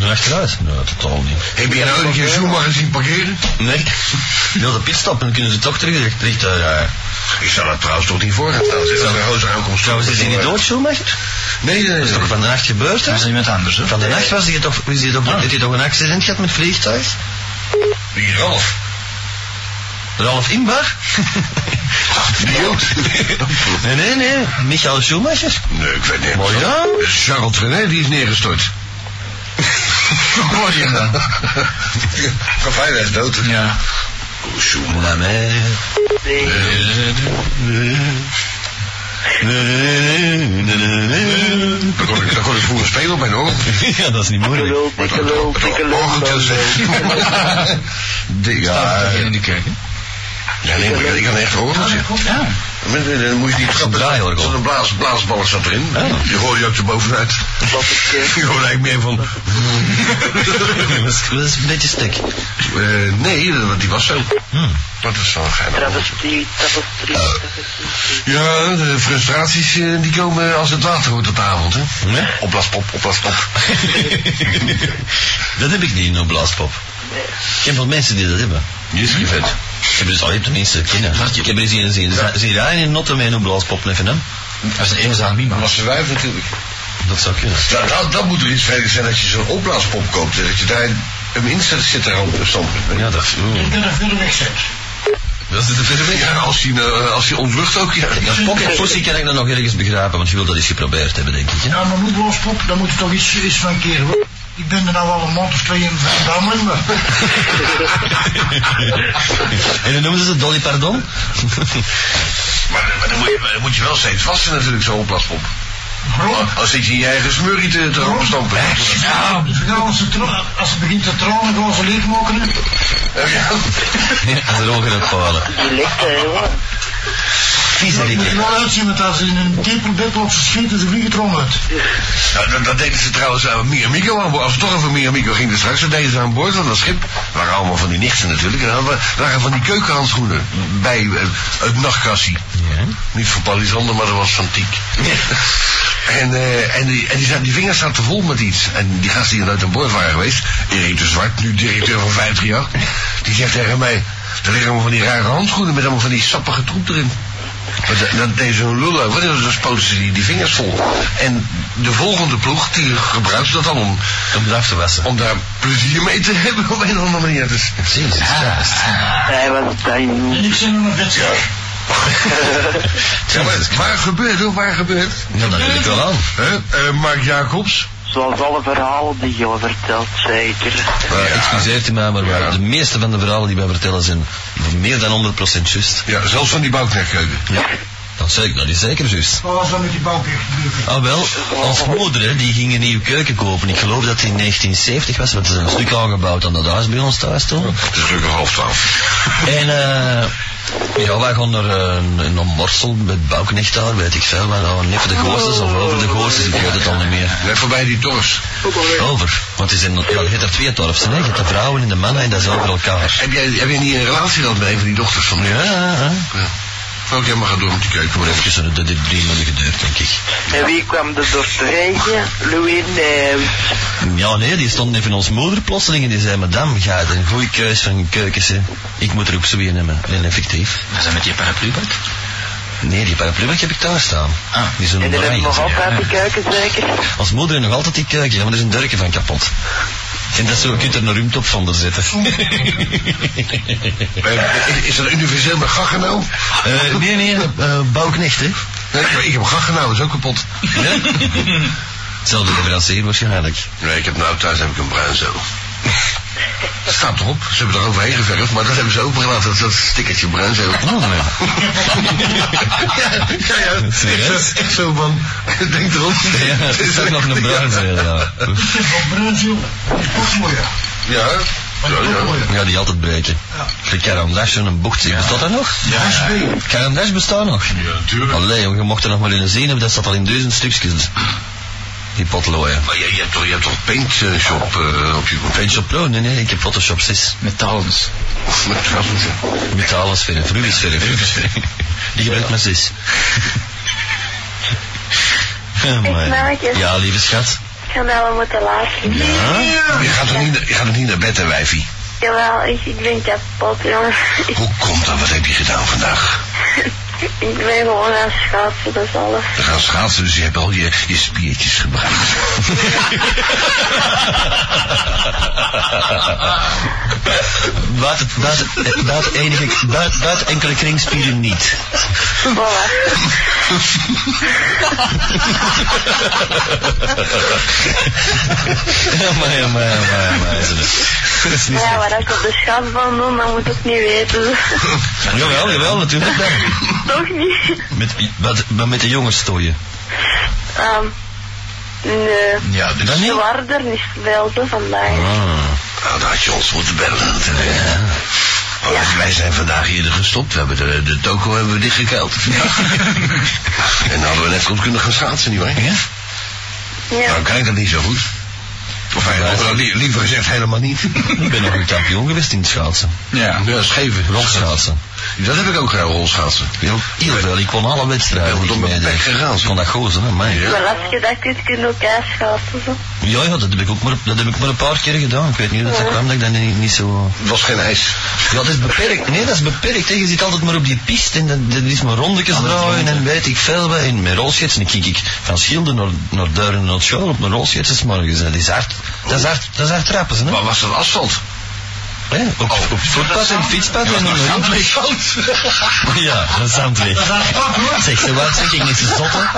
Een achteruit? Nee, nou totaal niet. Heb je nou een keer Zuma gezien parkeren? Nee. Heel de pitstop en dan kunnen ze toch terug recht, recht eh, rijden. Ik zou dat trouwens toch niet voor gaan staan. Zeg, als een roze aankomt Trouwens, is hij niet dood, Schumacher? Nee, nee, Dat is toch nee. van de nacht gebeurd, hè? iemand anders, Ah. Van de nacht was hij toch, was die toch, heeft hij toch een accident gehad met vliegtuig? Die Ralf. Ralf Inbar? Die Jood. <laughs> Nee, nee, nee. Michael Schumacher? Nee, ik weet niet. Maar ja. Charles Trenet, die is <laughs> neergestort. Hoor je dan? Kafijn is dood. Ja. Schumacher. Mon ami. Nee. Daar kon ik, daar kon ik vroeger spelen bij de oorlog. <laughs> Ja, dat is niet Dikke moeilijk. lul, dikke lul, dikke lul. <laughs> Ja, in de kerk, Ja, nee, maar ik had een echt orgeltje. Ja. Maar Dan dan moest je die trappen. draaiorgel. Zo'n blaas, blaasballen zat erin. Ja. Je hoorde je ook <laughs> erbovenuit. Dat is eh, Je hoorde eigenlijk meer van... <laughs> Dat is, dat is een beetje stek. Eh, nee, dat- die was zo. Hm. Dat is wel geinig. travestie, travestie, travestie. Ja, de frustraties eh, die komen als het water wordt op de avond, hè. Nee? Opblaaspop, opblaaspop. <laughs> dat heb ik niet, een blaaspop. Ik ken veel mensen die dat hebben. Yes, je vet. Ik heb dus al je hebt tenminste kennen. Ik heb er zien zien. Zie je daar in een notte met een blaaspop neffen, hè? Dat is een eenzaam iemand. Dat was een wijf natuurlijk. dat zou kunnen. Nou, nou, dat moet er iets verder zijn als je zo'n opblaaspop koopt. hè, Dat je daar hem in zet, zit daar al op standpunt. Ja, dat is... Hmm. Dat er veel wegzet. Dat is de verder Ja, als hij, eh, als hij ontlucht ook, ja. Dat <laughs> pocketpussy kan ik dan nog ergens begrijpen, want je wil dat eens geprobeerd hebben, denk ik. Hè? Ja, maar moet bloospop, daar moet je toch iets, iets van keren. hoor. Ik ben er nou al een maand of twee in van Damling, maar... en dan noemen ze het Dolly Pardon? Maar, maar dan, moet je, dan moet je wel steeds vasten natuurlijk, zo'n opblaaspop. Als ik je in je eigen smurrie te, Oh, te roepen stampen. Ja, nou, als, het, tro- als het begint te tranen, gewoon ze leegmaken. hè. Ja, de ogen dat vallen. Die lekt, hè, jongen. Vieze Dat moet je wel uitzien, want als ze in een tempelbed op ze schieten, ze vliegen erom uit. Nou, dat, dat deden ze trouwens aan Miamico aan boord. Als we toch over Miamico gingen straks, dan deden ze aan boord van dat schip. Waren allemaal van die nichten natuurlijk. En dan hadden we- waren van die keukenhandschoenen bij eh, het nachtkassie. Niet van Palisander, maar dat was van Tiek. en eh, en, die, en die, zaten- die vingers zaten vol met iets. En die gasten die uit aan boord waren geweest, Erik de Zwart, nu directeur van 538, die zegt tegen mij, er liggen allemaal van die rare handschoenen met allemaal van die sappige troep erin. Maar dat- Dat deed zo'n lul over, dan spoten ze die, die vingers vol. En de volgende ploeg, die gebruikte dat dan om... Om af te wassen. Om daar plezier mee te hebben op een of andere manier. Dus, Jezus Hij was dan... En ik zit nog een bed. Ja, maar waar gebeurt, hoor, waar gebeurt? Ja, dat weet ik wel aan. Hè? Eh, Mark Jacobs? Zoals alle verhalen die je al vertelt, zeker. Eh, Excuseert u mij, maar waar de meeste van de verhalen die wij vertellen zijn meer dan 100% juist. Ja, zelfs van die bouwknekkeuken. Ja, dat is zeker, dat is zeker juist. Wat was dat met die bouwpeer gebeurd? Ah wel, als moeder hè, die ging een nieuwe keuken kopen. Ik geloof dat die in 1970 was, want het is een stuk aangebouwd aan dat huis bij ons thuis toen. Het is gelukkig half twaalf. <laughs> En eh, ja, wij gaan naar een, een morsel met Bouwknecht daar, weet ik veel. Wij gaan even de goorsels of over de goorsels, ik weet het al niet meer. Net voorbij die dorst. Over, want het zijn, ja, je hebt er twee dorpsen, hè. je hebt de vrouwen en de mannen en dat is over elkaar. Heb jij, heb jij niet een relatie gehad met een van die dochters van nu? Ja, hè. Ook jij maar gaan door met die keuken. Voor eventjes een- de, de drie maanden geduurd, denk ik. En wie kwam er door te rijden? Louis eh, Nijs. Ja, nee, die stond even ons moeder plotseling en die zei, madame, ga het een goede keus van keukens, hè. Ik moet er ook zo in nemen. En effectief. Dat zijn met die paraplubak. Nee, die paraplu heb ik thuis staan. Ah. Die zo'n En daar hebben oranje, we nog zeg maar. altijd te kijken, zeker. Als moeder heeft nog altijd die keuken, ja, maar er is een durken van kapot. En dat zo, je kunt er een ruimte op van zetten. Eh, Is dat universeel met Gaggenau? Eh, nee, nee, eh, bouwknecht, hè? Nee, maar ik heb Gaggenau, is ook kapot. <laughs> Ja? Hetzelfde leverancier waarschijnlijk. Nee, ik heb nou thuis heb ik een bruinzo. Dat staat erop. Ze hebben er overheen geverfd, maar dat hebben ze opengelaten. Dat, dat stickertje bruinzo. Oh, nee. <laughs> ja, ja, ja. Serieus? Echt zo van, denk erop. Ja, <laughs> het is ook nog een bruinzeel, ja. Ik heb van Bruinzeel, die is toch mooi, hè. Ja, ja, ja. Ja, die altijd breken. De karandash en een bocht, bestaat dat nog? Ja, spelen. Karandash bestaat nog? Ja, natuurlijk. Allee, jong, je mocht er nog maar in een zien hebben, dat staat al in duizend stukjes. Die potlooien. Maar je, je hebt toch, je hebt toch paint eh, shop eh, op je computer? Paintshop Pro? Nee, nee, ik heb Photoshop 6. Met talens. Met trouwens, ja. Metalen verf, Rubies verf. Die gebruikt maar zes. merk het. Ja, lieve schat. Ik ga nou wel moeten laten. Je gaat toch niet, naar- je gaat toch niet naar bed, hè, wijfie? Jawel, ik, ik ben kapot, jongen. <laughs> Ik, Hoe komt dat? Wat heb je gedaan vandaag? ik ben gewoon aan het schaatsen, dat is alles. <laughs> We gaan schaatsen, dus je hebt al je, je spiertjes gebruikt. Buiten, buiten, eh, buiten, enige, buiten, buiten enkele kringspieren niet. Voilà. Amai, amai, amai, amai. Dat is niet Ja, wat ik op de schat van doen, dat moet ik niet weten. <laughs> Jawel, jawel, natuurlijk dan. Toch niet? Met, wat, wat met de jongens stooien. Ehm nee. Ja, dus... Ze niet? waren er niet veel te vandaag. Ah. Nou, dan had je ons moeten bellen natuurlijk. Maar wij- Wij zijn vandaag eerder gestopt. We hebben de, de toko hebben we dichtgekeild. en dan hadden we net goed kunnen gaan schaatsen, nietwaar? Ja? Ja. Ah, Nou, kijk dat niet zo goed. Of hij, of, nou, li- liever gezegd helemaal niet. Ik ben nog een kampioen geweest in het schaatsen. Ja. Ja, scheven. Rondschaatsen. Dat heb ik ook graag rolschaatsen. Iedereen, ik kon alle wedstrijden. Ik ben pek gegaan. Ik kon dat gozer, hè, mij. Maar als je dat kunt, kun je elkaar schaatsen. zo. Ja, ja, dat heb ik ook maar, dat heb ik maar een paar keer gedaan. Ik weet niet hoe dat, dat kwam, dat ik dat niet, niet zo... Het was geen ijs. Ja, dat is beperkt. Nee, dat is beperkt. hè. Je zit altijd maar op die pist en dat, dat is maar rondetjes draaien en weet ik veel wat. En met rolschetsen dan kijk ik van Schilden naar, naar Duiren en naar het School op mijn rolschetsens morgens. Dat is hard. Dat is hard, dat is hard trappen, hè. Maar was dat asfalt? Oh, Hè? Op, op het voetpad en het fietspad Ja, en maar op dat is Ja, dat is zandweg. Zeg, ze wat zeg ik niet te zotten?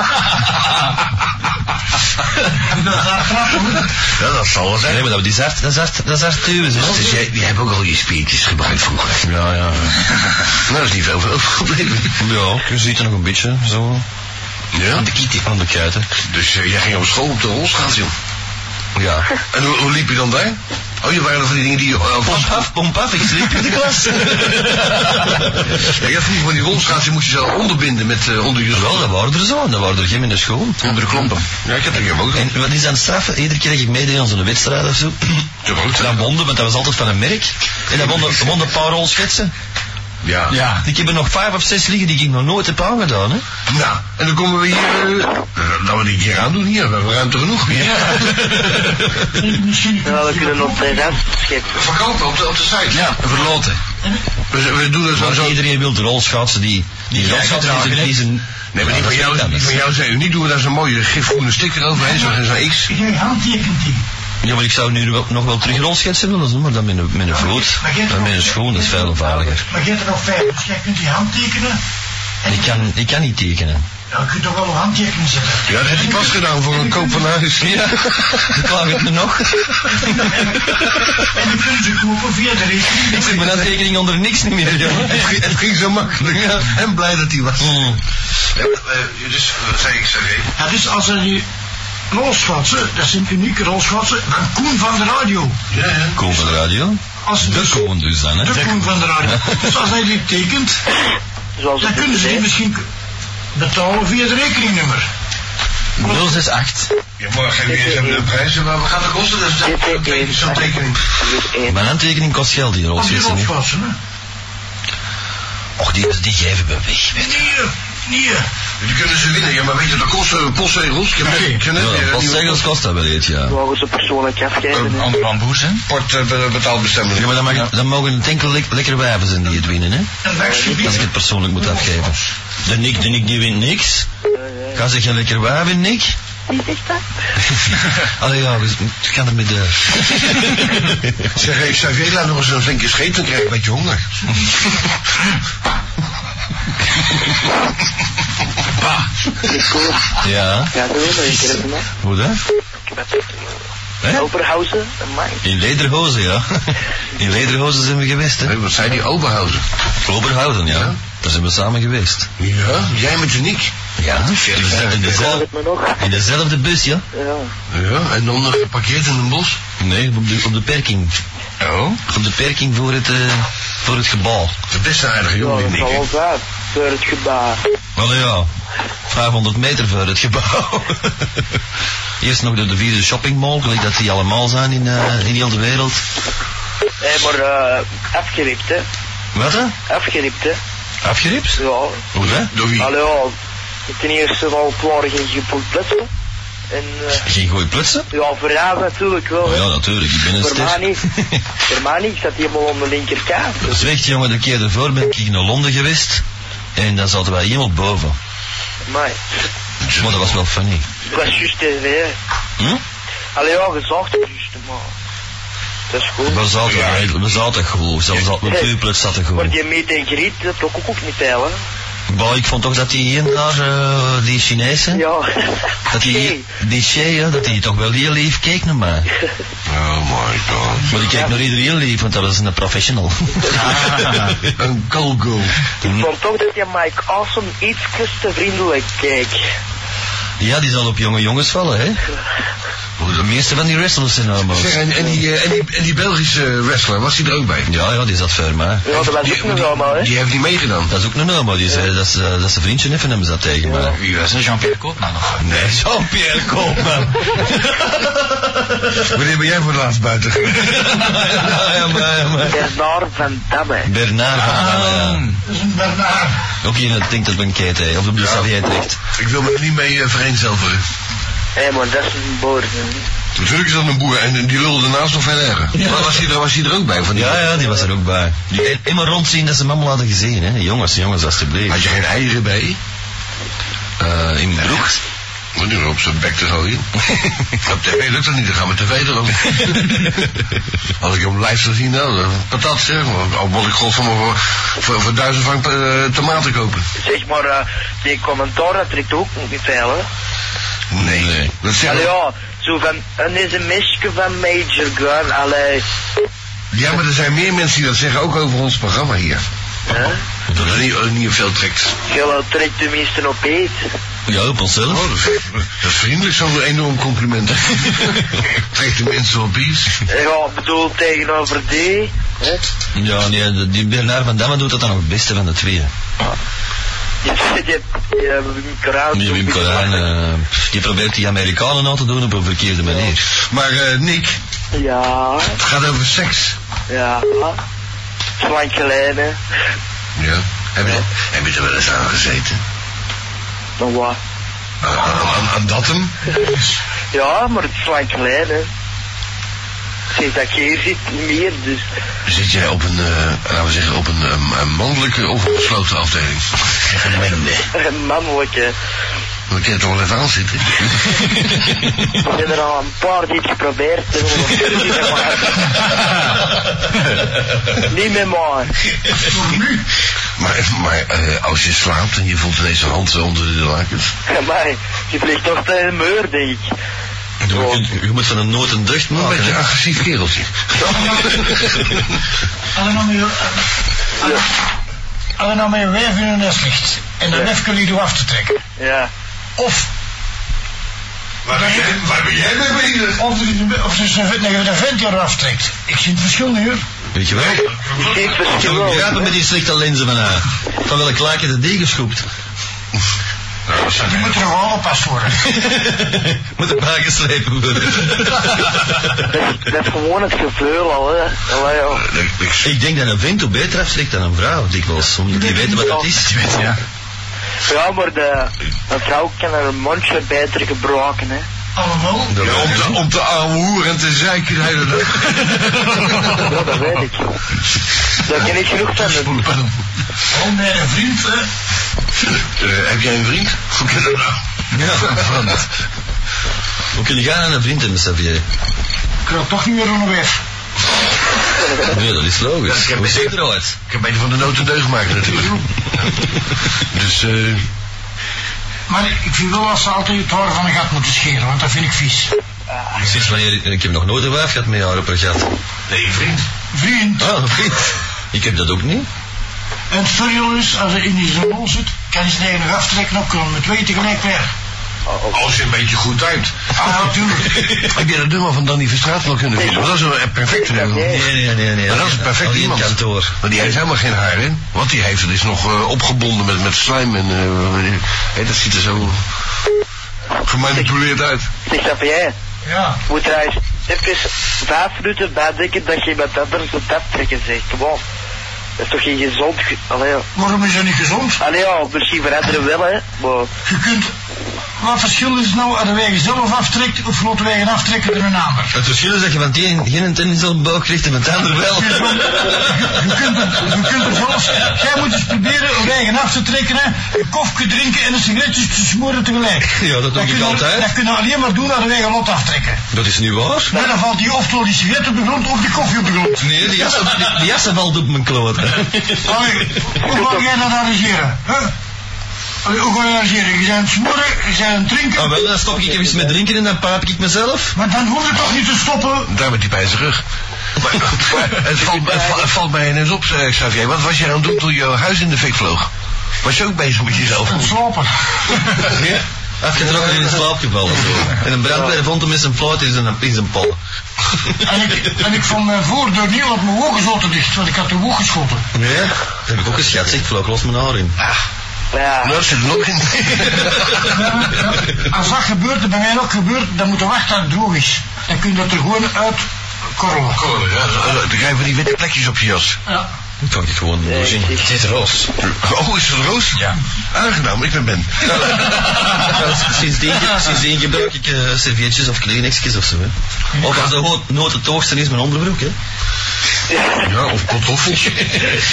Ja, dat zal wel zijn. Nee, maar dat is hard, dat is hard, dat is hard duwen, zeg. Dus jij, jij hebt ook al je spiertjes gebruikt vroeger. Ja, ja. <laughs> nou, dat is niet veel veel probleem. Ja, je ziet er nog een beetje, zo. Ja? Aan de kieten. Aan de kuiten. Dus eh, jij ging op school op de rolschaats, joh. Ja. En hoe, hoe liep je dan daar? Oh, je waren nog van die dingen die je... eh, Pomp af, pomp af, ik sliep in de klas. ja, je had vroeger van die rolschaats, die moest je zelf onderbinden met eh, onder je Wel, dat waren er zo, dat waren er geen in de school. Onder de klompen. Ja, ik heb er geen ook gehad. En wat is dan straf? Iedere keer dat ik meedeed aan zo'n wedstrijd of zo, Ja, maar goed. dan wonden, want dat was altijd van een merk. En dan wonden, wonden een paar rolschetsen. Ja. Ja. Ik heb er nog vijf of zes liggen die ik nog nooit heb aangedaan, hè. Nou, en dan komen we hier... eh, dat we dit hier aan doen hier, we hebben ruimte genoeg. <laughs> Ja. Ja, we kunnen op de rest scheppen. Verkopen op de, op de site. Ja. Verloten. We, we doen dat zo... Maar zo iedereen wil de rolschaatsen die... Die, jij gedragen die, hebt. die zijn... Nee, maar Ja, die van, dat is jou, niet die anders. van jou zijn uniek. Doen we daar zo'n mooie gifgroene sticker overheen, zo'n zo'n X. Jij handtekent die. Ja, maar ik zou nu wel- nog wel terug rolschetsen willen doen, maar dan met een, met een vloed. Maar jij hebt Dan er met een nog- schoen, dat is veel veiliger. Maar jij hebt er nog vijf, dus jij kunt die handtekenen. En Ik kan, ik kan niet tekenen. Ja, je kunt toch wel een handtekening zetten. Ja, dat heb je pas gedaan voor een koop van huis. <laughs> Ja, klaag het me nog. En dan kunnen ze kopen via de Ik zet rekening. mijn aantekening onder niks niet meer, jongen. Het ging- het ging zo makkelijk. En blij dat hij was. Hmm. Ja, eh, dus, wat zei ik, sorry. Ja, dus als er die rolschatsen, dat zijn unieke rolschatsen, van Koen van de radio. Ja, ja. Koen van de radio. Als De Koen dus dan, de hè. Koen van de radio. Dus als hij die tekent, Zoals dan het kunnen is, ze die hè. misschien betalen via het rekeningnummer. 068. Ja, maar geen weer hebben de prijzen, maar we gaan de kosten. Dus Dit, eh, dit, dat dit. is zo'n tekening. Groep één. Mijn aantekening kost geld, die Of die rolschetsen. hè. rolschatsen, hè. Och, die, die geven we weg. weet je. Nee, nee. Die kunnen ze winnen, ja, maar weet je, dat kost eh, postzegels. Ik heb net- ik heb net, Ja, eh, wat nieuwe- zegels kost dat wel iets, ja. Mogen ze persoonlijk afkijken. Oh. hè. bamboes, hè? Port eh, be- betaalbestemming. Ja, maar dan, mag, dan mogen het enkel lek- lekkere wijven zijn die het winnen, hè. Een Als ik werksgebied. het persoonlijk moet afgeven. De Nick, de Nick die wint niks. Ga ze geen lekker waar winnen, Nick? Wie zegt dat? <laughs> Allee, ja, we we gaan er met de... <laughs> Zeg, hey, Xavier, laat nog eens een flinke scheet, dan krijg ik een beetje honger. Nico, Ja, ja, dat wil ik een keer hebben, hè. hoe dat? Ik heb het. Hè? Oberhausen, amai. In lederhozen, <laughs> ja. In lederhozen zijn we geweest, hè. Hey, wat zei die Oberhausen? Oberhouden, ja. Daar zijn we samen geweest. Ja, jij met Janiek. Ja, in Dat dezelfde, het me nog. in dezelfde bus, ja. Ja. Ja, en dan nog geparkeerd in een bos. Nee, op de, op de perking. Oh. Op de perking voor het, eh, voor het gebouw. Dat is best een aardige Ja, jongen, dat die zal wel Nick. zijn. Voor het gebaar. Allee, ja. 500 meter voor het gebouw. <laughs> Eerst nog door de vierde shoppingmall, gelijk dat die allemaal zijn in, eh, in heel de wereld. Hé, maar eh, afgeript, hè. Wat, hè? Afgeript, hè. Afgeript? Ja. Hoe, hè? Door wie? Allee, ja. Ten eerste van het waren geen gepolpletten. En eh, Geen goeie plutsen? ja, voor jou natuurlijk wel. Oh hè. ja, natuurlijk, ik ben een Voor mij ster. <laughs> niet. Voor mij niet. Ik zat helemaal onder de linkerkaart. Zwicht, jongen, de keer ervoor ben ik naar Londen geweest. En daar zaten wij helemaal boven. Amai. Maar dat was wel funny. Ik was juist tv, hè. Hm? Allee, ja, gezagd juist, maar... Dat is goed. We zaten, heel- we zaten goed. Zelfs al- Mijn puurpluts zaten Maar goed. die meet en griet, dat trok ik ook niet bij, hè. Maar ik vond toch dat die een daar, eh, die Chinese, Ja. dat die, <laughs> Nee. die Che, ja, dat die toch wel heel lief keek naar mij. <laughs> Oh my god. Maar ik kijk naar iedereen lief, want dat is een <laughs> professional. Ah, Een go-go. Ik vond toch dat je Mike Awesome iets te vriendelijk kijkt. Ja, die zal op jonge jongens vallen, hè? De meeste van die wrestlers zijn allemaal. Zeg, en, en, die, eh, en, die, en die Belgische wrestler, was die er ook bij? Ja, ja, die zat ver, maar. Ja, dat was ook een normaal, hè? Die heeft niet meegedaan. Dat is ook normaal, maar die zei dat ze, dat ze vriendje even hem zat tegen. Maar... Wie was dat? Jean-Pierre Koopman of Nee, Jean-Pierre Koopman. <laughs> Wanneer ben jij voor het laatst buiten? <laughs> Bernard van Damme. Ah, Bernard van Damme, ja. Dat is een Bernard. Ook iemand denkt dat het een keet, hè, of de bloed jij trekt. Ik wil me er niet mee eh, vereenzelvigen. Hé man, dat is een boer. Natuurlijk is dat een boer en die lulde naast nog veel erger. Maar was hij er, was hij er ook bij? Van die Ja, ja, die was er ook bij. Die immer rondzien dat ze hem allemaal hadden gezien, hè. Jongens, jongens, alstublieft. Had je geen eieren bij? Eh, in broek. Maar nu op zijn bek te gooien. <laughs> op tv lukt dat niet, dan gaan we tv er ook. <laughs> Als ik hem live zou zien, nou, dan patat zeg. maar. Al moet ik god van voor, voor, voor duizend frank eh, tomaten kopen. Zeg maar, eh, die commentaar dat trekt ook niet veel, hè? Nee. Dat zeg Allee, ja, zo van, en is een meisje van Major Gun, allee. Ja, maar er zijn meer mensen die dat zeggen, ook over ons programma hier. Hè? Dat er niet, eh, niet veel trekt. Je trekt tenminste op eet. Ja, op onszelf. Oh, dat, is, dat is vriendelijk, zo'n enorm compliment. Trekt de mensen op iets. Ja, ik bedoel tegenover die. Hè? Ja, nee, de- die Bernard van Damme doet dat dan ook het beste van de twee. hè. Die, die, die, die eh, Wim Kraan. Die Wim Corijn, eh, pff, die probeert die Amerikanen nou aan te doen op een verkeerde manier. Maar eh, Nick, Ja, het gaat over seks. ja. Slank geleden. Ja. Heb je, heb je er wel eens aan gezeten? Maar wat? Aan, aan, aan- aan dat <laughs> hem? Ja, maar het is lang geleden. Sinds dat ik hier zit, niet meer, dus... Zit jij op een, eh, laten we zeggen, op een, ehm, een mannelijke of een besloten afdeling? Gemengde. Mannelijke. Dan kun je toch wel even aanzitten. Ik heb er al een paar dit geprobeerd. hè, maar het is niet meer maar. Niet meer maar. maar maar eh, als je slaapt en je voelt ineens een hand onder de lakens. Maar je vliegt toch tegen de muur, denk ik. Je moet- Je moet van een nood een deugd Een maken. beetje een hè. agressief kereltje. Hadden nou meer, hadden nou meer werf in hun nest ligt. En dan Ja. nef kunnen jullie af te trekken. Ja. Of, waar, ben jij, waar ben jij mee bezig? of, de- of dus een, nee, de vent die eraf trekt. Ik zie het verschil nu hoor. Weet je wel? Je ziet Ik heb verschil ook ook. grappen met die slechte lenzen van haar. Van welk laakje de degen schoept. Die moet er gewoon opgepast worden. Moet erbij geslepen <laughs> worden. Dat, dat is gewoon het geveul al, hè. Allee, joh. Ik denk dat een vent op beter afsteekt dan een vrouw, dikwijls. Omdat die weten wat dat is. Ja. Ja, maar de, een vrouw kan haar mondje beter gebruiken, <laughs> hè. Allemaal. Ja, om te, om te ouwehoeren en te zeiken de hele dag. Ja, dat weet ik. Daar ken ik genoeg van. hè. Pardon. Oh nee, een vriend. hè. Eh, heb jij een vriend? Hoe kan dat nou? Ja, van. Hoe kun je gaan aan een vriend hebben, Xavier? Ik kruip toch niet meer onder weg. Nee, dat is logisch. heb Hoe ik- ziet er al uit? Ik heb beter van de nood een deugd maken natuurlijk. dus eh Maar ik vind wel dat ze altijd het haar van een gat moeten scheren, want dat vind ik vies. Sinds wanneer... Ik heb nog nooit een wijf gehad met haar op een gat. nee, je vriend. Vriend, Ah, een vriend. Ik heb dat ook niet. en sorry jongens, als er in die zo'n hol zit, kan ze tegen nog aftrekken opkomen met twee tegelijk weg. Als je een beetje goed timed. <laughs> Ah, natuurlijk. Heb jij dat nummer van Danny Verstraat nog kunnen vinden? Want dat is een perfecte nummer. Nee, nee, nee. nee. Oh. Maar dat is een perfect Alleen iemand. kantoor. Maar die heeft helemaal geen haar in. Wat die heeft, dat is nog eh, opgebonden met, met slijm en eh, weet ik- hé, dat ziet er zo gemanipuleerd uit. Zeg dat jij. Ja. Moet hij eens even vijf minuten bijdenken dat je iemand anders op dat trekken zegt. Gewoon. Dat is toch geen gezond... ge- Allee, ja. Waarom is dat niet gezond? Allee, ja, misschien veranderen wel, hè. Maar Je kunt... Wat verschil is het nou als de wegen zelf aftrekt of laten wegen aftrekken door een ander? Het verschil is dat je van het een geen tennis op de buik krijgt en van het ander <laughs> wel. Je, je kunt het, je kunt het zelfs... Jij moet eens proberen om wegen af te trekken, hè. Een koffie drinken en een sigaretje te smoren tegelijk. Ja, dat doe ik kun je- altijd. Dat kun je alleen maar doen als de wegen lot aftrekken. Dat is niet waar. Maar dan valt die of door die sigaret op de grond of die koffie op de grond. Nee, die jassen, die, die jassen valt op mijn kloot. Allee, <laughs> hoe ga jij dat arrangeren? Hè? Allee, hoe ga je dat arrangeren? Je bent aan het smoren, je bent aan het drinken. Ah, wel, dan stop ik even met drinken en dan paap ik mezelf. Maar dan hoef je toch niet te stoppen? Daar met die bij zijn rug. Oh Maar, <laughs> maar het, valt, het, va- het valt mij ineens op, eh, Xavier. Wat was jij aan het <laughs> doen toen jouw huis in de fik vloog? Was je ook bezig met jezelf? Ontslapen. Ja? Afgetrokken in de slaap gevallen. Zo. En een brandweer vond hem met zijn fluit in zijn, in zijn pollen. En ik, en ik van mijn voordeur niet op mijn wogen zo te dicht, want ik had de woog geschoten. Nee, dat heb ik ook geschat. Zeg, ik vloog los mijn haar <laughs> in. Ja. Daar zit nog in. Ja, ja. Eh, Als dat gebeurt, en bij mij ook gebeurt, dan moet je wachten dat het droog is. Dan kun je dat er gewoon uit korrelen. Korrelen, Oh, ja. eh, Dan krijg je van die witte plekjes op je jas. Ja. Ik kan dit gewoon niet doorzien. Het is roos. Oh, is het roos? Ja. Aangenaam, ik ben Ben. <laughs> Sindsdien, sindsdien gebruik ik eh, servetjes of kleenexjes of zo. Hè. Of als de ho- nood het hoogste is, mijn onderbroek. Hè. Ja, of pantoffels.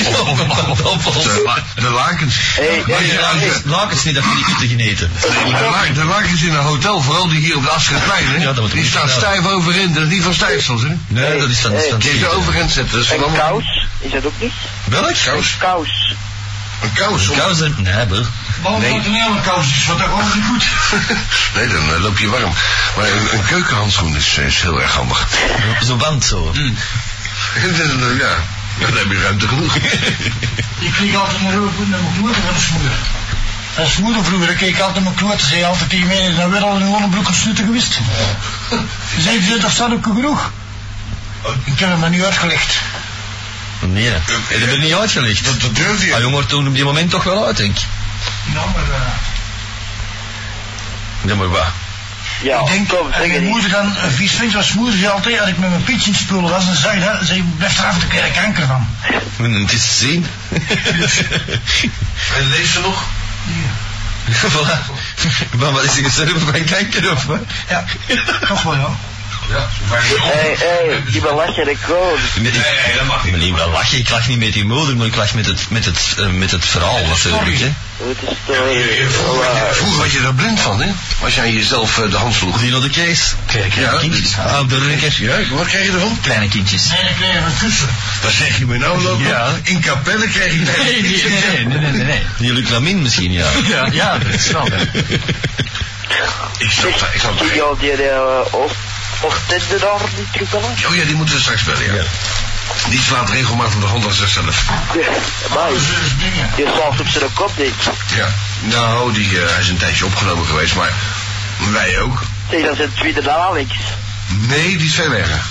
Of, of, <laughs> of, of, of de, la- de lakens. Hey, Maar je- als je- Lakens niet, dat vind ik te geneten. de, la- de lakens in een hotel, vooral die hier op de Afschapijn, hè? Ja, dat wordt die goed staat gedaan. stijf overin. Dat is niet van stijfsels, hè? Nee, dat is dan Hey, niet. Die heeft de overin zetten. Dat is En allemaal- kous, is dat ook niet? Welk? Kous. Kous. Een kous. om- Kous er- Nee, bro. Behalve dat het een hele kous is, want dat was niet goed. Nee, dan eh, loop je warm. Maar een, een keukenhandschoen is, eh, is heel erg handig. Mm. Zo'n band zo. <laughs> ja, dan heb je ruimte genoeg. <laughs> Ik kreeg altijd een rode naar mijn kloot van de smoeder. Dat is moeder vroeger, ik keek altijd naar mijn kloot. Ze zei altijd tegen mij, dan werd al in onderbroek gesnutten geweest. Ze zei, ze, dat staat ook genoeg. Ik heb hem maar niet uitgelegd. Nee, dat heb ik niet uitgelegd. Dat, dat durf Ah, je. jong, maar toen op die moment toch wel uit, denk ik. Nou, maar... eh, Ja, maar wat? Ja, ik denk, kom, zeg en het mijn niet. moeder dan, een vies vindt was moeder zei altijd, als ik met mijn pietje in het spul was, dan zei dat, zei, blijf er af, dan krijg ik kanker van. Men, Het is te zien. En leeft ze nog? <laughs> voilà. Maar wat is er gestorven van kanker of wat? Ja, toch wel, ja. Ja, waar je Hey, hey, die belachen de koos. Nee, nee, dat mag niet. Maar niet wel lachen. Ik lach niet met die moeder, maar ik lach met het, met het, eh, met het verhaal natuurlijk. Hè. Wat is story? Vroeger was je daar blind van, hè? Als jij jezelf eh, de hand sloeg. Die naar de kees. Ja, kindjes. Ah, op de rekker. Ja, wat krijg je ervan? Kleine kindjes. En ik kreeg een kussen. Dat zeg je me nou, lopen. Ja. In kapellen krijg je Nee, nee, nee, nee, nee, nee. Die Luc Lamine misschien, ja. <laughs> Ja, ja, dat is wel, hè. Ik snap dat, ik snap dat. Die al die eh, of Ochtende daar niet terug bellen? Oh ja, die moeten we straks bellen, ja. Ja. Die slaat regelmatig de hand aan zichzelf. Maar Dus, dus dingen. je slaat op zijn kop, denk ik. Ja. Nou, die, eh, hij is een tijdje opgenomen geweest, maar wij ook. Zeg, dat zijn tweede Alex. Nee, die is veel erger.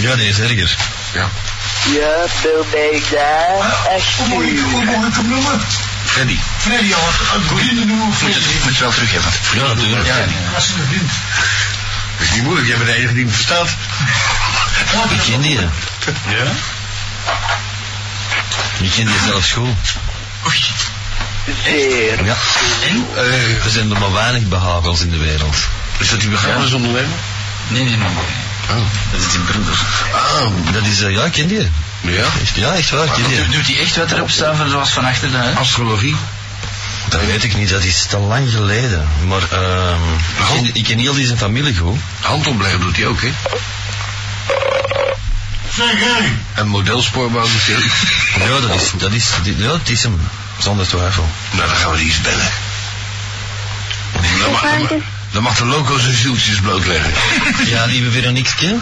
Ja, die is erger. Ja. Ja, Bill Maida. Echt Hoe moet ik, nu. hoe moet ik hem noemen? Freddy. Freddy, al, als vrienden noemen we Moet je Freddy. het, moet je het wel terug hebben. Ja, natuurlijk. Ja, Als ze een vriend. dat is niet moeilijk. Jij bent de enige die hem verstaat. Ik ken die. hè. Ja? Ik ken die zelfs goed. Zeer. Ja. Er zijn er maar weinig behagels in de wereld. is dat die begrafenisondernemer? Nee, nee, nee. Oh. Dat is die broeder. Ah, Dat is, eh, ja, ik ken die. ja. Echt, ja, echt waar, ik ken die. Doet hij echt wat erop staan van zoals van achter daar? Astrologie. Dat weet ik niet, dat is te lang geleden. Maar ehm ik, ken, ik ken heel die zijn familie goed. Handomleggen doet hij ook, hè? Zeg, hey. En modelspoorbaar doet hij ook. Ja, dat is, dat is, die- ja, het is hem. Zonder twijfel. Nou, dan gaan we die eens bellen. Dan mag, dan, mag- dan mag de loco zijn zieltjes blootleggen. Ja, lieve Veronique,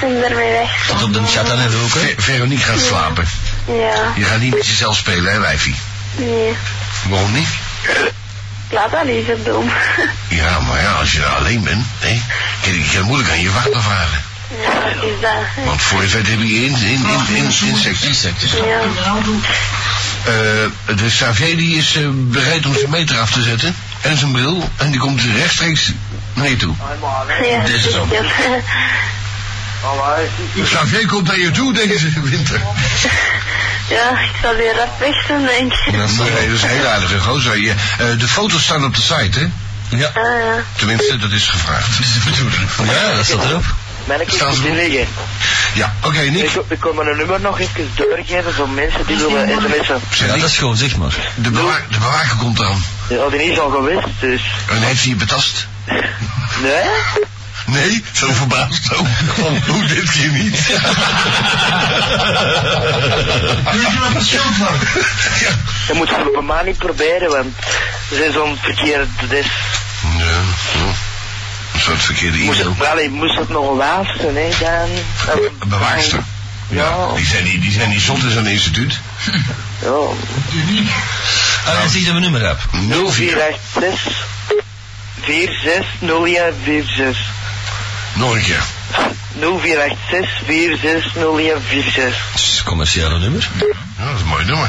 Zijn daarmee weg. tot op de chat aan het roken. Ver- Veronique gaat slapen. Ja, Je gaat niet met jezelf spelen, hè, wijfie? nee. Waarom niet? Laat dat liever doen. <laughs> Ja, maar ja, als je daar alleen bent, hè, kan je kan moeilijk aan je wachter vragen. Ja, dat is dat. Want voor je het weet heb je in, in, in, in, insecten. Ja. Eh, de Xavier die is eh, bereid om zijn meter af te zetten en zijn bril en die komt rechtstreeks naar je toe. Ja, Dit is ook. Ja. Xavier komt naar je toe deze winter. <laughs> Ja, ik zal weer rap weg doen, denk ik. Nee, dat is een hele aardige gozer. Je, eh, de foto's staan op de site, hè? Ah, ja. Tenminste, dat is gevraagd. Dat is de bedoeling. Ja, dat staat erop. Mijn kind Staan is ze te goed? liggen. Ja, oké, Ik, Nick. ik kon mijn nummer nog even doorgeven voor mensen die willen sms'en. Zeg, Ja, dat Nick, is gewoon, zeg maar. de, bewa de bewaker komt aan. Die hadden niet zo geweest, dus... En heeft hij je betast? Nee? Nee, zo verbaasd zo. Van, hoe dit keer niet? Weet je wat het scheelt van? ja. Dat moet je op mij niet proberen, want... Ze zijn zo'n verkeerde... Dus... ja. Een soort verkeerde Moest e-mail. het, allee, moest het nog een waas zijn, hè, dan... Een bewaakster. Ja. Die zijn niet, die zijn niet zot in zo'n instituut. Ja. Die niet. Ah, dan zie je dat mijn nummer heb. 0486 460146. Nog een keer. 0486 460146. Het is een commerciële nummer. Ja, dat is een mooi nummer.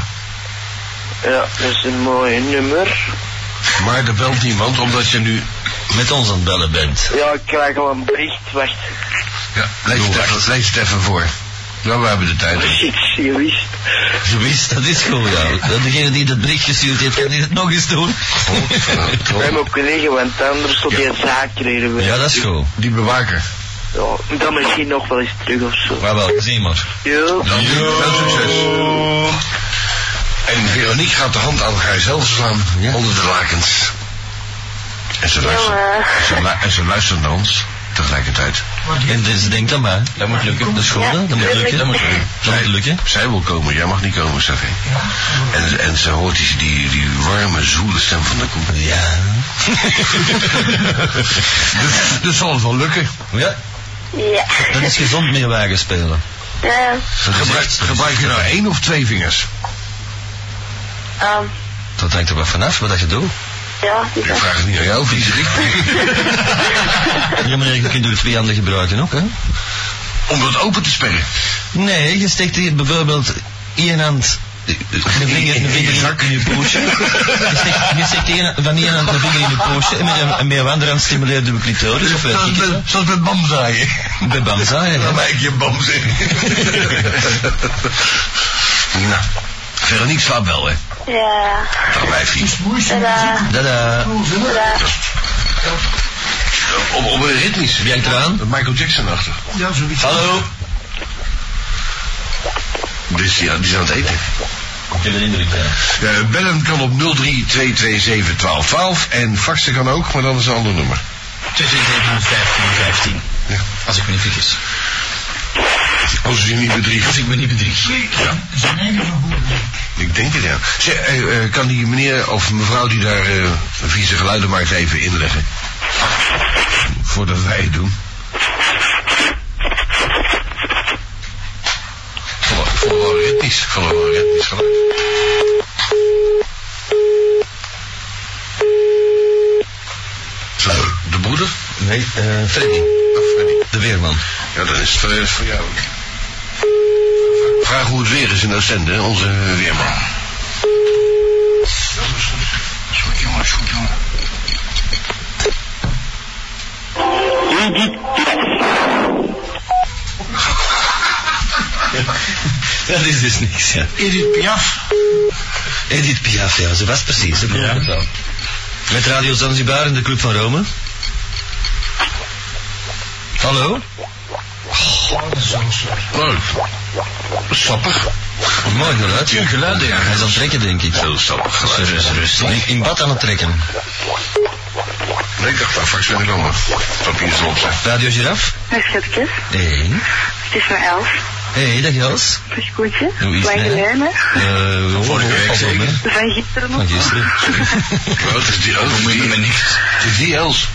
Ja, dat is een mooi nummer. Maar er belt niemand omdat je nu met ons aan het bellen bent. Ja, ik krijg al een bericht. Wacht. Ja, lees het even, lees het even voor. Ja, we hebben de tijd. Ik zie je wist. Je wist, dat is goed, ja. Dat Degene die dat bericht gestuurd heeft, kan die het nog eens doen. Wij moeten collega, want anders tot die zaak krijgen we. Ja, dat is goed. Die bewaker. Ja, dan misschien nog wel eens terug of zo. Maar wel, zie maar. Jo. Dan veel succes. En Veronique gaat de hand aan Gijs Helder slaan onder de lakens. En ze luistert, ze lu- en ze luistert naar ons tegelijkertijd. En dus denk aan mij. Dat moet lukken. De school, dat moet lukken. Dat moet lukken. Dat moet lukken. Zij wil komen, jij mag niet komen, zeg ik. En, en ze hoort die, die, die warme, zoele stem van de koe. Ja. <laughs> Dus, dus zal het wel lukken. Ja, Ja. dat is gezond meer wagen spelen. Ja. Gebruik, gebruik je nou één of twee vingers? ehm, Dat hangt er wel vanaf wat dat je doet. ja. die Ik zijn- vraag het niet aan jou, Frederik. Ja, maar <laughs> je kunt er twee handen gebruiken ook, hè? Om dat open te sperren. Nee, je steekt hier bijvoorbeeld één hand. eh, De vinger, de vinger in, in je poosje. Je steekt, je steekt één- van één hand de vinger in je poosje en met, een- en met je andere hand stimuleert de clitoris of weet ik het wel. Zoals met bamzaaien. Bij banzaaien, hè? Dan maak je bam zeggen. <laughs> nou, Veronique slaapt wel, hè? Ja. Dan wijfie. Tada. Dada. Tada. Op, op een ritmisch. Wie hangt eraan? Eh, Michael Jackson achter. Ja, zoiets. Hallo. Dus ja, die is aan het eten. Ik heb een indruk, ja. Eh, bellen kan op 032271212 en faxen kan ook, maar dat is een ander nummer. Tussen 715 en 15. Ja. Als ik me niet vergis. Als je je niet bedriegt. ik me niet bedrieg. Zijn eigen verboden. Ik denk het ja. Zeg, eh, eh, kan die meneer of mevrouw die daar eh, vieze geluiden maakt even inleggen? Voordat wij het doen. Volle- Volle ritmisch, volle ritmisch geluid. Zo, de broeder? Nee, eh Freddy, Of Freddy? de weerman. Ja, dat is voor, voor jou ook. Vraag hoe het weer is in Oostende, hè, onze weerman. Ja, dat is goed. Dat is goed, jongen. Dat is goed, jongen. Dat is dus niks, ja. Edith Piaf. Edith Piaf, ja, ze was precies. Dat ja. Met Radio Zanzibar in de Club van Rome. Hallo? Oh, dat is wel slecht. Leuk. Sappig. Een mooi geluid. Ja, geluid, ja. Hij is aan het trekken, denk ik. Heel sappig geluid. Ze is rustig. In, in bad aan het trekken. Nee, ik dacht dat fax weer komen. Papier zal op zijn. Radio Giraf? Mijn schatjes, Hé. Hey. het is maar elf. Hé, hey, dag Jels. Dag koetje. Hoe is het, Lang hè? geleden. Uh, Vorige week zeker. Van gisteren nog. Van gisteren. Oh, het is die elf. Het is die- het is die Els.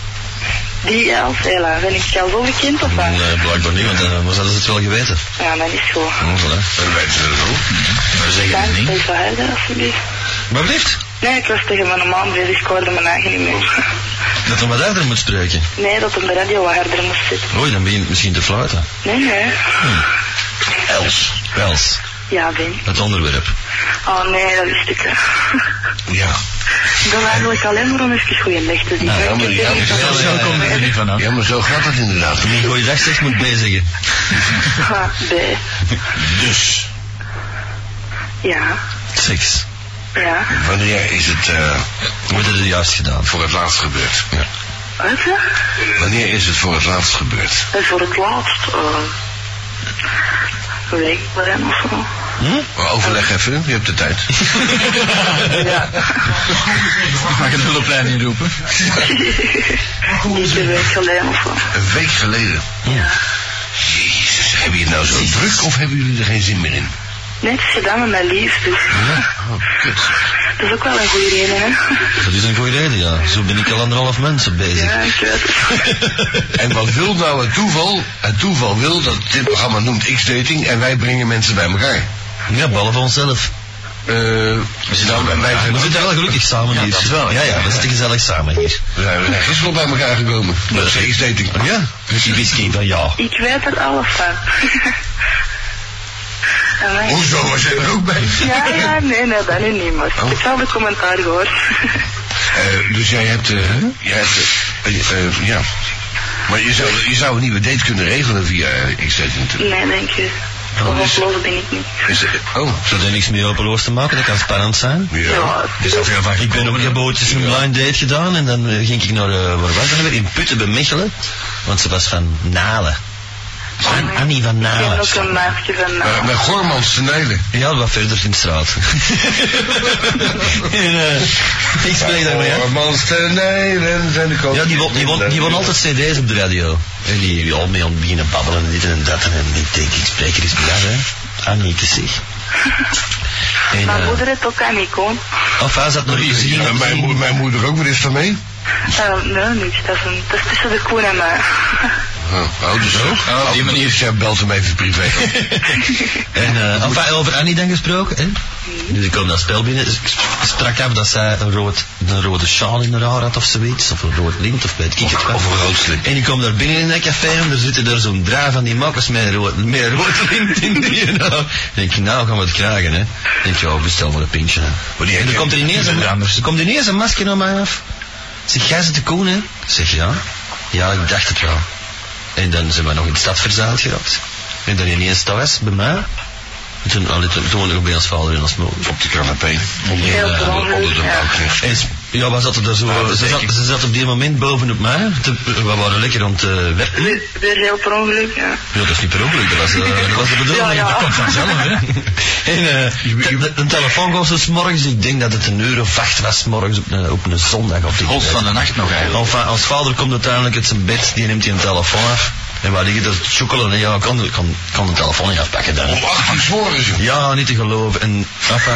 Die elf, hela. Ben ik jou zo bekend of wat? Nee, Eh, blijkbaar niet, want dan was dat het wel geweten. Ja, dat is goed. Oh, voilà. Dat weten ze dat ook. We zeggen Dank, het niet. ben zo helder alsjeblieft. Maar blijft. Nee, ik was tegen mijn man bezig, ik hoorde mijn eigen niet meer. Dat er wat harder moet spreken. Nee, dat hem de radio wat harder moest zitten. Oei, dan ben je misschien te fluiten. Nee, nee. Els. Els. Ja, Ben. Het onderwerp. Oh nee, dat is stukken. Ja. <laughs> Ik ben eigenlijk alleen maar om even goeiedag te zien. Nou, Ik jammer, heb jammer. echt- Zo- zo komt het er niet vanaf. Ja, maar zo gaat het inderdaad. Toen je goeiedag zegt, moet bezig. Ha, B. Dus, Ja, Seks. ja. wanneer is het eh, Wordt het juist gedaan? voor het laatst gebeurd? Wat? hè? Wanneer is het voor het laatst gebeurd? En voor het laatst, eh een week geleden of zo. Hm? Maar Overleg even, je hebt de tijd. <laughs> Ja, Mag ik een hulplijn inroepen? niet een week geleden of zo. Een week geleden. Jezus, hebben jullie het nou zo druk of hebben jullie er geen zin meer in? Nee, het is gedaan met mijn lief, dus Oh, kut. <laughs> dat is ook wel een goede reden, hè. Dat is een goede reden, ja. Zo ben ik al anderhalf mensen bezig. Ja, ik weet het. En wat wil nou het toeval? Het toeval wil dat dit programma noemt X-dating en wij brengen mensen bij elkaar. Ja, ballen van onszelf. Eh, we zitten, ook, wij zijn We zitten wel gelukkig samen Ja, hier. dat wel. Ja, ja, we zitten gezellig samen hier. We zijn we zijn gisteren al bij elkaar gekomen. Dat is eens dating. Ja? Dus die whisky dan ja. Ik weet er alles <laughs> van. Amai. Hoezo, was jij er ook bij? Ja, ja, nee, nee, dat nu niet, maar Oh. ik heb al de commentaar gehoord. <laughs> Eh, dus jij hebt... eh, jij hebt eh, eh, eh, ja. Maar je zou, je zou een nieuwe date kunnen regelen via uh, natuurlijk. Nee, dank je. Oh, is, Hoogloos ben ik niet. is, oh. Zou er niks meer openloos te maken? Dat kan spannend zijn. Ja. Dus dat veel van Ik ben op een bootjes een blind date gedaan en dan eh, ging ik naar, eh, waar was dat weer? In Putten bij Mechelen. Want ze was van Nalen. An- Annie van Oh Ah, Ik ben Nalen. ook een meisje van eh, Bij, naam. bij Eh, Gormans te Nijlen. Ja, wat verder in de straat. <laughs> en, eh, ik spreek daarmee af. Gormans te Nijlen zijn de koning. Ja, die won, die, won, die won altijd cd's op de radio. En die al mee om beginnen babbelen en dit en dat. En ik denk, ik spreek er eens bij af, hè. Annieke zeg. En, Mijn eh, moeder heeft ook een icoon. of hij zat nog iets in. Ja, mijn, moe- mijn moeder ook, wat is daarmee? Eh, nee, niks. Dat is, een, dat is tussen de koen en mij. <laughs> Oh, oh, dus ook. Ah, Oh, die manier. Dus jij belt hem even <laughs> privé. En eh, enfin, over Annie dan gesproken, hè? Dus ik kwam dat spel binnen. Ik sprak af dat zij een, rood, een rode sjaal in haar haar had of zoiets. Of een rood lint of weet ik het wat. Of een rood slip. En ik kom daar binnen in dat café en er zitten daar zo'n draai van die makkers met een rood, met een rood lint in die haar. Dan denk ik, nou gaan we het krijgen, hè? Dan denk je, oh, bestel maar een pintje, hè. Maar die En er komt er ineens een, er komt ineens een masker naar mij af. Zeg, jij zit de koen, hè? Ik Zeg, ja. Ja, ik dacht het wel. En dan zijn we nog in de stad verzeild geraakt. En dan ineens thuis, bij mij. En toen, allee, toen, toen woonde ik ook bij ons vader en ons moeder. Op de canapé. En, Heel eh, belangrijk, onder de ja. bank. en s- ja, we zaten daar zo, Ah, dat ze, denk zat, ik. ze zat op die moment bovenop mij. Te- we waren lekker aan het eh, werken. Weer, weer heel per ongeluk, ja. Ja, dat is niet per ongeluk, dat was, eh, <laughs> dat was de bedoeling. Ja, ja. Dat komt vanzelf, <laughs> hè. En eh de, de, de telefoon kwam zo 's morgens, ik denk dat het een uur of acht was 's morgens op een, op een zondag. Of die Hot van de nacht nog eigenlijk. Enfin, als vader komt uiteindelijk uit zijn bed, die neemt die een telefoon af. En waar liggen dat chocolade? en ja, ik kan, kan, kan de telefoon niet afpakken dan. hè. Om acht uur 's morgens, joh. Ja, niet te geloven. En enfin,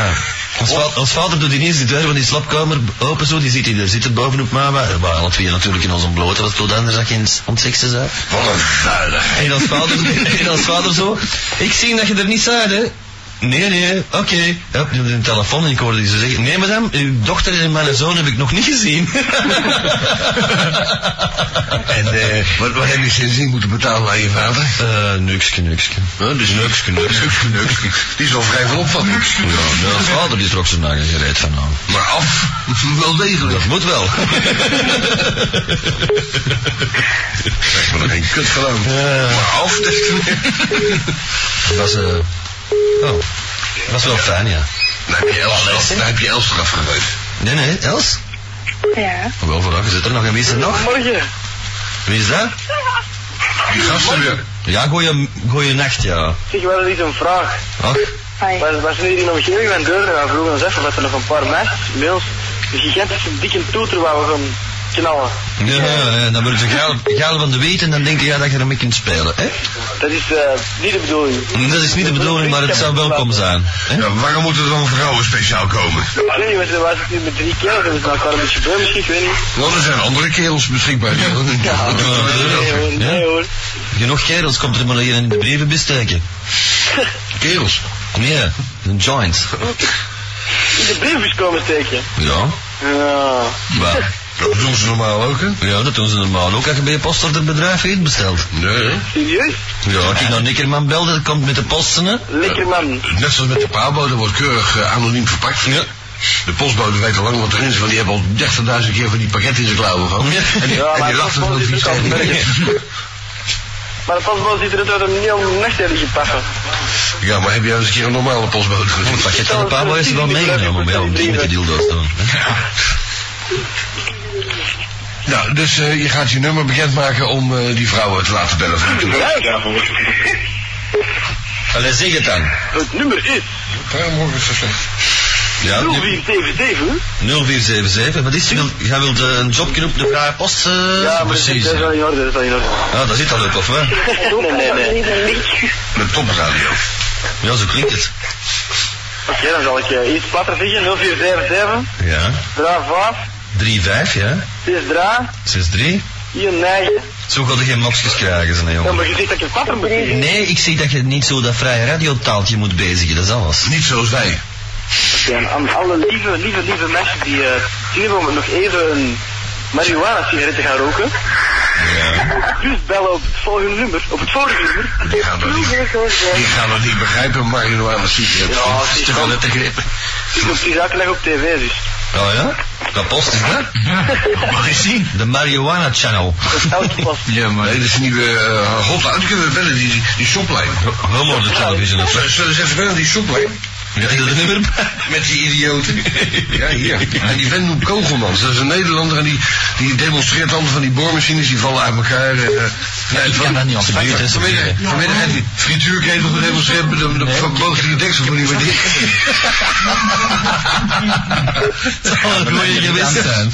als, va- als vader doet ineens die deur van die slaapkamer open zo, die ziet hij er zitten bovenop mij. Wij wij alle twee natuurlijk in onze blote, was het tot anders dat je aan het seksen zou. Wat een vuiligheid. En als vader, en als vader zo. Ik zie dat je er niet zei, hè? Nee, nee, oké. Ja, ik doe een telefoon en ik hoorde die zo zeggen: Nee, madame, uw dochter en mijn zoon heb ik nog niet gezien. <laughs> En eh, wat, wat heb je sindsdien moeten betalen aan je vader? Eh, nukske, nukske. Huh, dus niks, niks, niks, Die is al vrij veel opvatting. Ja, nee, als vader die trok zijn nagen gereed van aan. Maar af, nou. wel degelijk. Dat moet wel. Zeg maar nog geen kut geloofd. Maar af, dacht ik. Dat was, eh, oh, dat was wel fijn, ja. Dan heb je Els, dan heb je Els eraf gegooid. Nee, nee, Els? Ja. Wel, vandaag zit er nog en wie is er nog? Morgen. Wie is dat? Die gasten weer. Ja, goeie, goeie nacht, ja. Zeg, wel eens een vraag. Ach, Hoi. Was, was nu in de omgeving van Deurne, we vroegen ons even dat er nog een paar meisjes, mails, een gigantische dikke toeter waar we gaan knallen. nee, nee, nee, dan word je gaal, gaal van de weten en dan denk je ja, dat je ermee kunt spelen, hè? Dat is eh, niet de bedoeling. Dat is niet de bedoeling, maar het zou welkom zijn. Hè? Ja, waarom moet er dan vrouwen speciaal komen? Nee, we zijn- we zijn nu met drie kerels, dat is met elkaar een beetje beu misschien, ik weet niet. Want er zijn andere kerels beschikbaar. Ja, Ja, nee hoor, nee hoor. Genoeg kerels komt er maar hier in de brieven <laughs> besteken. Kerels. Nee, een joint. In de briefbus komen steken. Ja, Ja. maar, Dat doen ze normaal ook, hè? ja, dat doen ze normaal ook als je bij je post of het bedrijf iets bestelt. Nee, hè? Serieus? Ja, als ik naar Nikkerman bel, dat komt met de posten, hè? Lekker man. Net zoals met de paarbode wordt keurig eh, anoniem verpakt. Ja. De postbode weet al lang wat erin is, want die hebben al 30.000 keer van die pakketten in zijn klauwen gehad. Ja. En die, Ja, en maar die de lacht het nog postbode is vies ook tegen. altijd <laughs> Maar de pasboot ziet eruit dat we hem niet al een nacht hebben gepakt. Ja, maar heb jij eens een keer een normale postbode gezien? Het pakket van een paar boys is wel meegenomen, maar ja, om die met de dildo's dan. Nou, dus eh, je gaat je nummer bekendmaken om eh, die vrouwen te laten bellen. Allee, zeg het dan. Het nummer is Daarom is zo slecht. Ja, die- 0477. 0477, wat is het? Wil- Jij wilt eh, een job kunnen op de vrije post? eh, Ja, maar dat precies. is wel Ja, in orde, dat is wel in orde. <laughs> Ah, dat zit al ook, of wat? Nee, nee, nee. Met topradio. Ja, zo klinkt het. Oké, dan zal ik eh, iets platter zeggen. 0477, Ja. 35, 3-5, ja. 63, 6-3. 9. Zo gaat er geen mopjes krijgen, zijn Ja, jongen. maar je zegt dat je platter moet zeggen. Nee, ik zeg dat je niet zo dat vrije radiotaaltje moet bezigen, dat is alles. Niet zoals wij. Ja, en aan alle lieve, lieve, lieve mensen die eh zien om nog even een marihuana sigaret te gaan roken. Dus bellen op het volgende nummer. Op het volgende nummer. Die gaan dat niet, die gaan dat niet begrijpen, marihuana sigaret. Ja, Dat is die te veel gaan- net tegen... Die komt die zaken leggen op tv dus. Oh ja? Dat post is dat? Mag je zien? De Marihuana Channel. Ja, maar dit is een nieuwe eh, hotline. Die kunnen we bellen, die, die, die shoplijn. Helemaal de televisie of zo. Zullen ze even bellen, die shoplijn? Ja, ik nummer Met die idioten. Ja, hier. En die Wendel Kogelmans, dat is een Nederlander en die, die demonstreert allemaal van die boormachines, die vallen uit elkaar. eh, nee, het kan dat niet als de buurt, hè, ze Vanmiddag buren. vanmiddag heeft die frituurketel gedemonstreerd, dan dan verbood die deksel voor die weer dicht. Oh, Dat zou Oh, een goeie geweest zijn.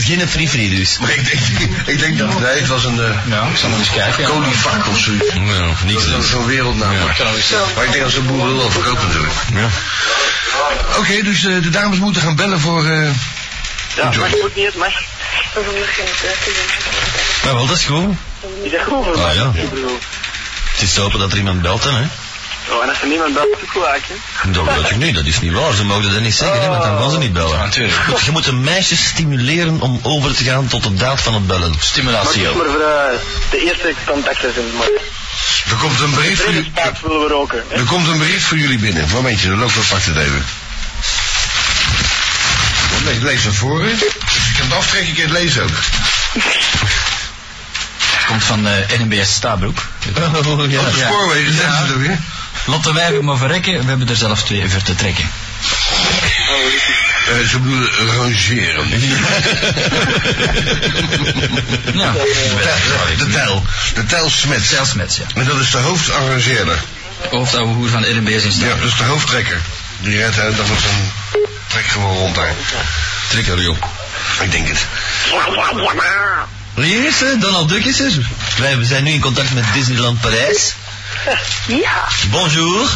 Geen- Geen free-free dus. Maar ik denk, ik denk dat nee, het was een eh Ja, ik zal nog eens kijken. koningvak of zoiets. Nou, niks Dat dus. is zo'n wereldnaam. Maar, maar ik denk dat zo'n boer wil wel verkopen natuurlijk. Ja. Oké, dus eh, de dames moeten gaan bellen voor... eh, Ja, Enjoy. maar het moet niet, het mag. Maar wel, dat is goed. Is dat goed voor Ah, mij? ja. Ik bedoel, Het is te hopen dat er iemand belt dan, hè. oh, en als er niemand belt, ook wel hè? Dat weet ik niet, dat is niet waar. Ze mogen dat niet zeggen, hè, want dan gaan ze niet bellen. Natuurlijk. je moet een meisje stimuleren om over te gaan tot de daad van het bellen. Maar het Stimulatie, is maar voor eh, de eerste contacten zijn het maar. er komt een brief voor jullie... Vredespaard willen we roken. hè. Er komt een bericht voor jullie binnen. Momentje, dan loopt dat pak het even. Ik lees naar voren. Dus ik kan het aftrekken, ik kan het lezen ook. Komt van de eh, NMBS Stabroek. Oh, ja. Op de spoorwegen zijn ze er weer. Lotte Wijver maar verrekken, we hebben er zelf twee voor te trekken. Eh, ze bedoelen <laughs> rangeren. Ja, De- De tel. De tel smet. zelfsmets, ja. En dat is de hoofdarrangeerder. Hoofdouwe hoer van NMBS in Ja, Stabroek. dat is de hoofdtrekker. Die rijdt uit, dat was een trek gewoon rond daar. Trekker, joh. Ik denk het. Hier is eh, ze, Donald Duck is er. Wij zijn nu in contact met Disneyland Parijs. Ja. Bonjour.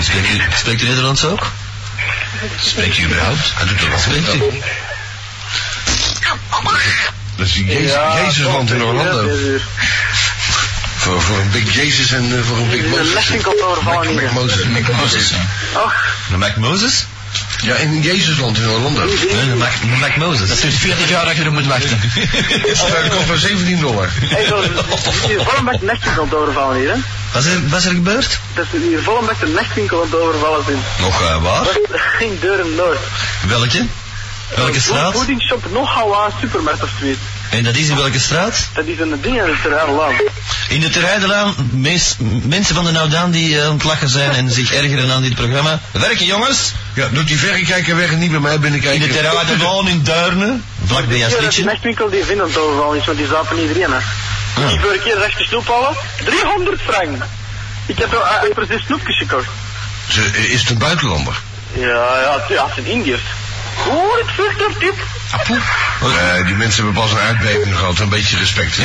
Spreekt u, spreekt u Nederlands ook? Spreekt u überhaupt? Hij doet er wel Spreekt u? Dat is die Jezus, Ja, Jezusland in toch, Orlando. ja, dit is- Voor, voor een Big Jezus en eh, voor een Big Een Moses. lessenkantoor van Mac- Mac hier. Moses. Mac Moses. Och, De Mac Moses? Ja, in Jezusland in Orlando. Nee, de Mac, de Mac Moses. Dat duurt 40 jaar dat je er moet wachten. <laughs> Dat kost maar 17 dollar. hey, zo, <laughs> hier volle met mesjes aan het overvallen hier, hè? Wat is er, wat is er gebeurd? Dat is hier volle met de meswinkel aan het overvallen zijn. Nog eh, waar? Dat ging Deuren Noord. Welke? Welke Een straat? voedingsshop, nogal aan supermarkt of zoiets. En dat is in welke straat? Dat is een ding aan het terrein land. In de Terreidelaan, meest, mensen van de Naudaan die eh, aan het lachen zijn en zich ergeren aan dit programma. Werken jongens! Ja, doet die verrekijker weg en niet bij mij In de binnenkijken. Terreidelaan in Duirne, vlak bij Ja, dat is de Jaslietje. meswinkel die vindt aan het overvallen is, want die zaten iedereen, hè? Die vorige keer zag ik de snoep halen, 300 frank. Ik heb er eh, precies snoepjes gekocht. Ze, eh, is het een buitenlander? Ja, ja, het- ja, het zijn Indiërs. Hoor, het vlucht op dit. Eh, die mensen hebben pas een uitbeving gehad. Een beetje respect. Ja,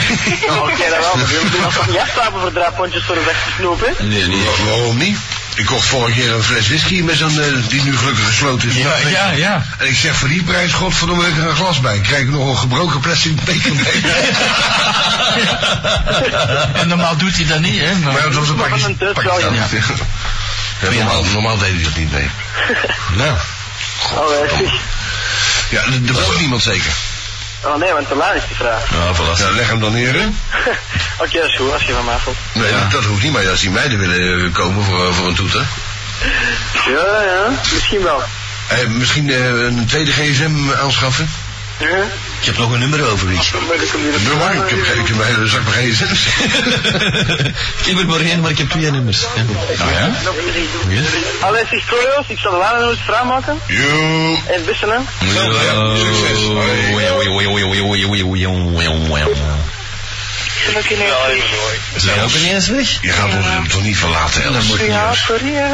Oh, Oké, dat wel. Maar we doen dat niet afstappen voor drie pondjes voor een zakje snoep, hè? Nee, Wa- nee. Nou, Waarom niet? Ik kocht vorige keer een fles whisky met zo'n, eh, die nu gelukkig gesloten is. Ja, ja, ja. En ik zeg voor die prijs, godverdomme, heb ik er een glas bij. Krijg ik nog een gebroken plastic <laughs> beker mee. En normaal doet hij dat niet, hè. maar- Maar dat was een Maar pakje. van een Turk pakje wel, ja. stout. Ja, normaal, normaal deed hij dat niet, <laughs> nee. Nou, Oh, eh, zie. Ja, d- er was niemand zeker. oh nee, want de laan is de vraag. <laughs> nou voilà. Ja, leg hem dan neer, hè? Oké, dat is goed, als je van mij valt. Nee, dat- dat hoeft niet, maar als die meiden willen eh, komen voor, eh, voor een toeter. Ja, ja, misschien wel. Eh, misschien eh, een tweede gsm aanschaffen? Ja, Ik heb nog een nummer over, ik. maar dan kom je er- Nummer? Ik heb, ik heb een hele zak met gsm's. <laughs> ik heb er maar één, maar ik heb twee nummers. Ja. Ah, Allee, zeg Trojo's, ik zal de laan nooit vraag maken. Yo. En wisselen. Ja, succes. Hoi. Ja, Zijn we ook ineens weg? Je gaat ons toch niet verlaten, Els? Ja, sorry. hè.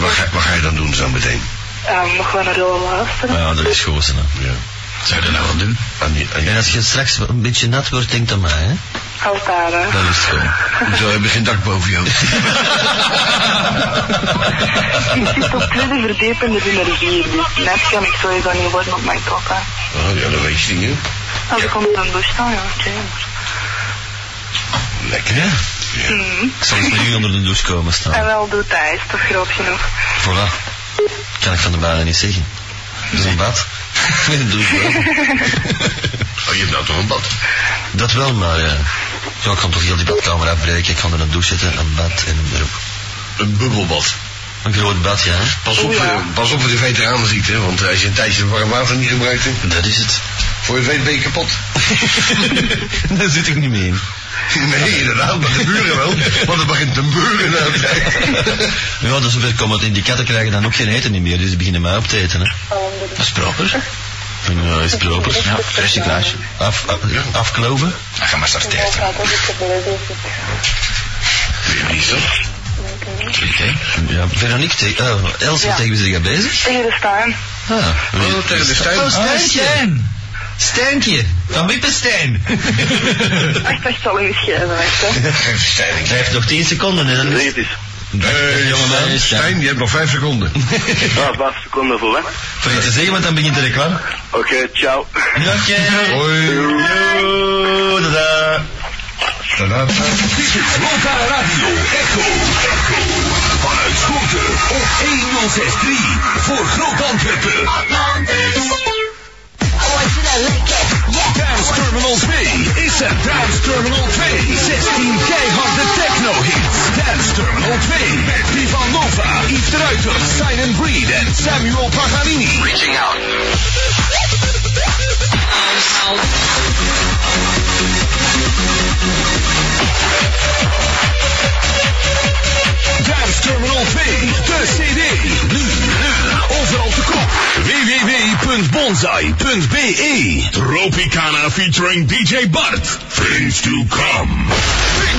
Wat ga, wat ga je dan doen zo meteen? Eh, mag wel naar de luisteren. Ja, dat is goed, hè. Zou je dat nou wel doen? Aan die, aan die- En als je straks een beetje nat wordt, denk aan mij, hè. Altijd, <laughs> hè. Dat is zo. eh, Zo heb je geen dak boven je hoofd. Ik zit op tweede verdieping, er zijn er vier. Dus net kan ik sowieso niet worden op mijn kop, hè. Oh, ja, dat weet je niet, hè? Als ik onder een douche sta, ja, oké. Lekker, hè? Ik zal eens met u onder de douche komen staan. Mhm. En wel doet hij, is toch groot genoeg. Voilà. Kan ik van de baden niet zeggen. Dus een bad. <laughs> Met een douche. Oh, je hebt nou toch een bad? Dat wel, maar eh, ja, ik kan toch heel die badkamer afbreken. Ik kan er een douche zetten, een bad en een broek. Een bubbelbad. Een groot bad, ja. Pas op, eh, pas op voor de veteranenziekte, hè, want eh, als je een tijdje warm water niet gebruikt hebt... Dat is het. Voor je het weet ben je kapot. <laughs> Daar zit ik niet mee in. Nee, inderdaad, maar de buren wel. Want het begint te buren nou. <laughs> Ja, dus zover komen het in die katten krijgen dan ook geen eten niet meer, dus die beginnen mij op te eten. Hè. Dat is proper. Ja, is proper. Ja, recyclage. Af, af, afkloven. Dan gaan we starten. Wie is dat? Oké. Ja, Veronique, te, eh, Elsie, tegen wie zit jij bezig? Tegen de staan. Ah, Oh, tegen de Stijn. Oh, Stijntje. Stijntje, van Wippenstein. Echt, echt zal u schrijven, echt hè. Hij heeft nog 10 seconden en dan is het. Eh, Stijn, Stijn, je hebt nog vijf seconden. Ja, vijf seconden voor wat? Voor je te zeggen, want dan begint de reclame. Oké, ciao. Ja, Oké. Hoi. Doei. Tada. Tada. Dit is Loka Radio Echo. Echo. Vanuit Schoten op 1063 voor Groot-Antwerpen. Dance Terminal 2 is het Dance Terminal 2. 16 keiharde techno-hits. Dance Terminal 2 met Vivan Nova, Yves de Ruiter, Simon Breed en Samuel Paganini. Reaching out. Dance Terminal 2, de CD. Nu, nu, overal te koop. www.bonsai.be E. Tropicana featuring DJ Bart. Things to come. Things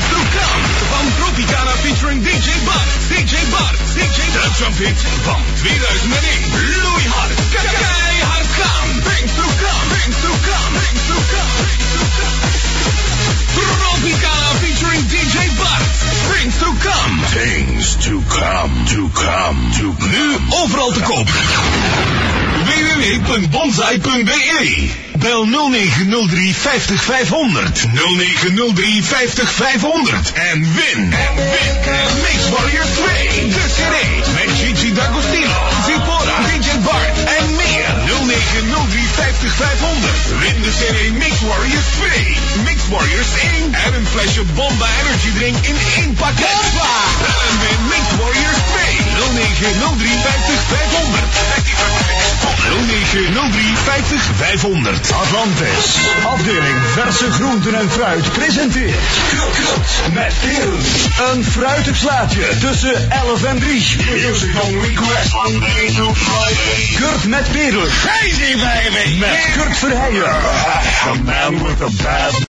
to come van Tropicana featuring DJ Bart. DJ Bart. DJ Bart. De trumpet van 2001. Loeihard. Keihard gaan. Things to come. Things to come. Things to come. Things to come. Tropicana featuring DJ Bart. Things to come. Things to come. To come. To come. Nu overal te koop. www.bonsai.be Bel 0903 50 500. 0903 50 500. En win. En win. Mix Warrior 2. De CD. Met Gigi D'Agostino. Zipora. DJ Bart. En meer. 0903 50 500. Win de CD Mix Warriors 2. Mix Warriors 1. En een flesje Bomba Energy Drink in één pakket. En win Mix Warriors 2. 0903 50 500. 0903 50 500. Atlantis, afdeling verse groenten en fruit presenteert. Krokkot met peren. Een fruitig slaatje tussen 11 en 3. Musical request Monday to Friday. Kurt met peren. Crazy baby. Met Kurt Verheijen. The man with the bad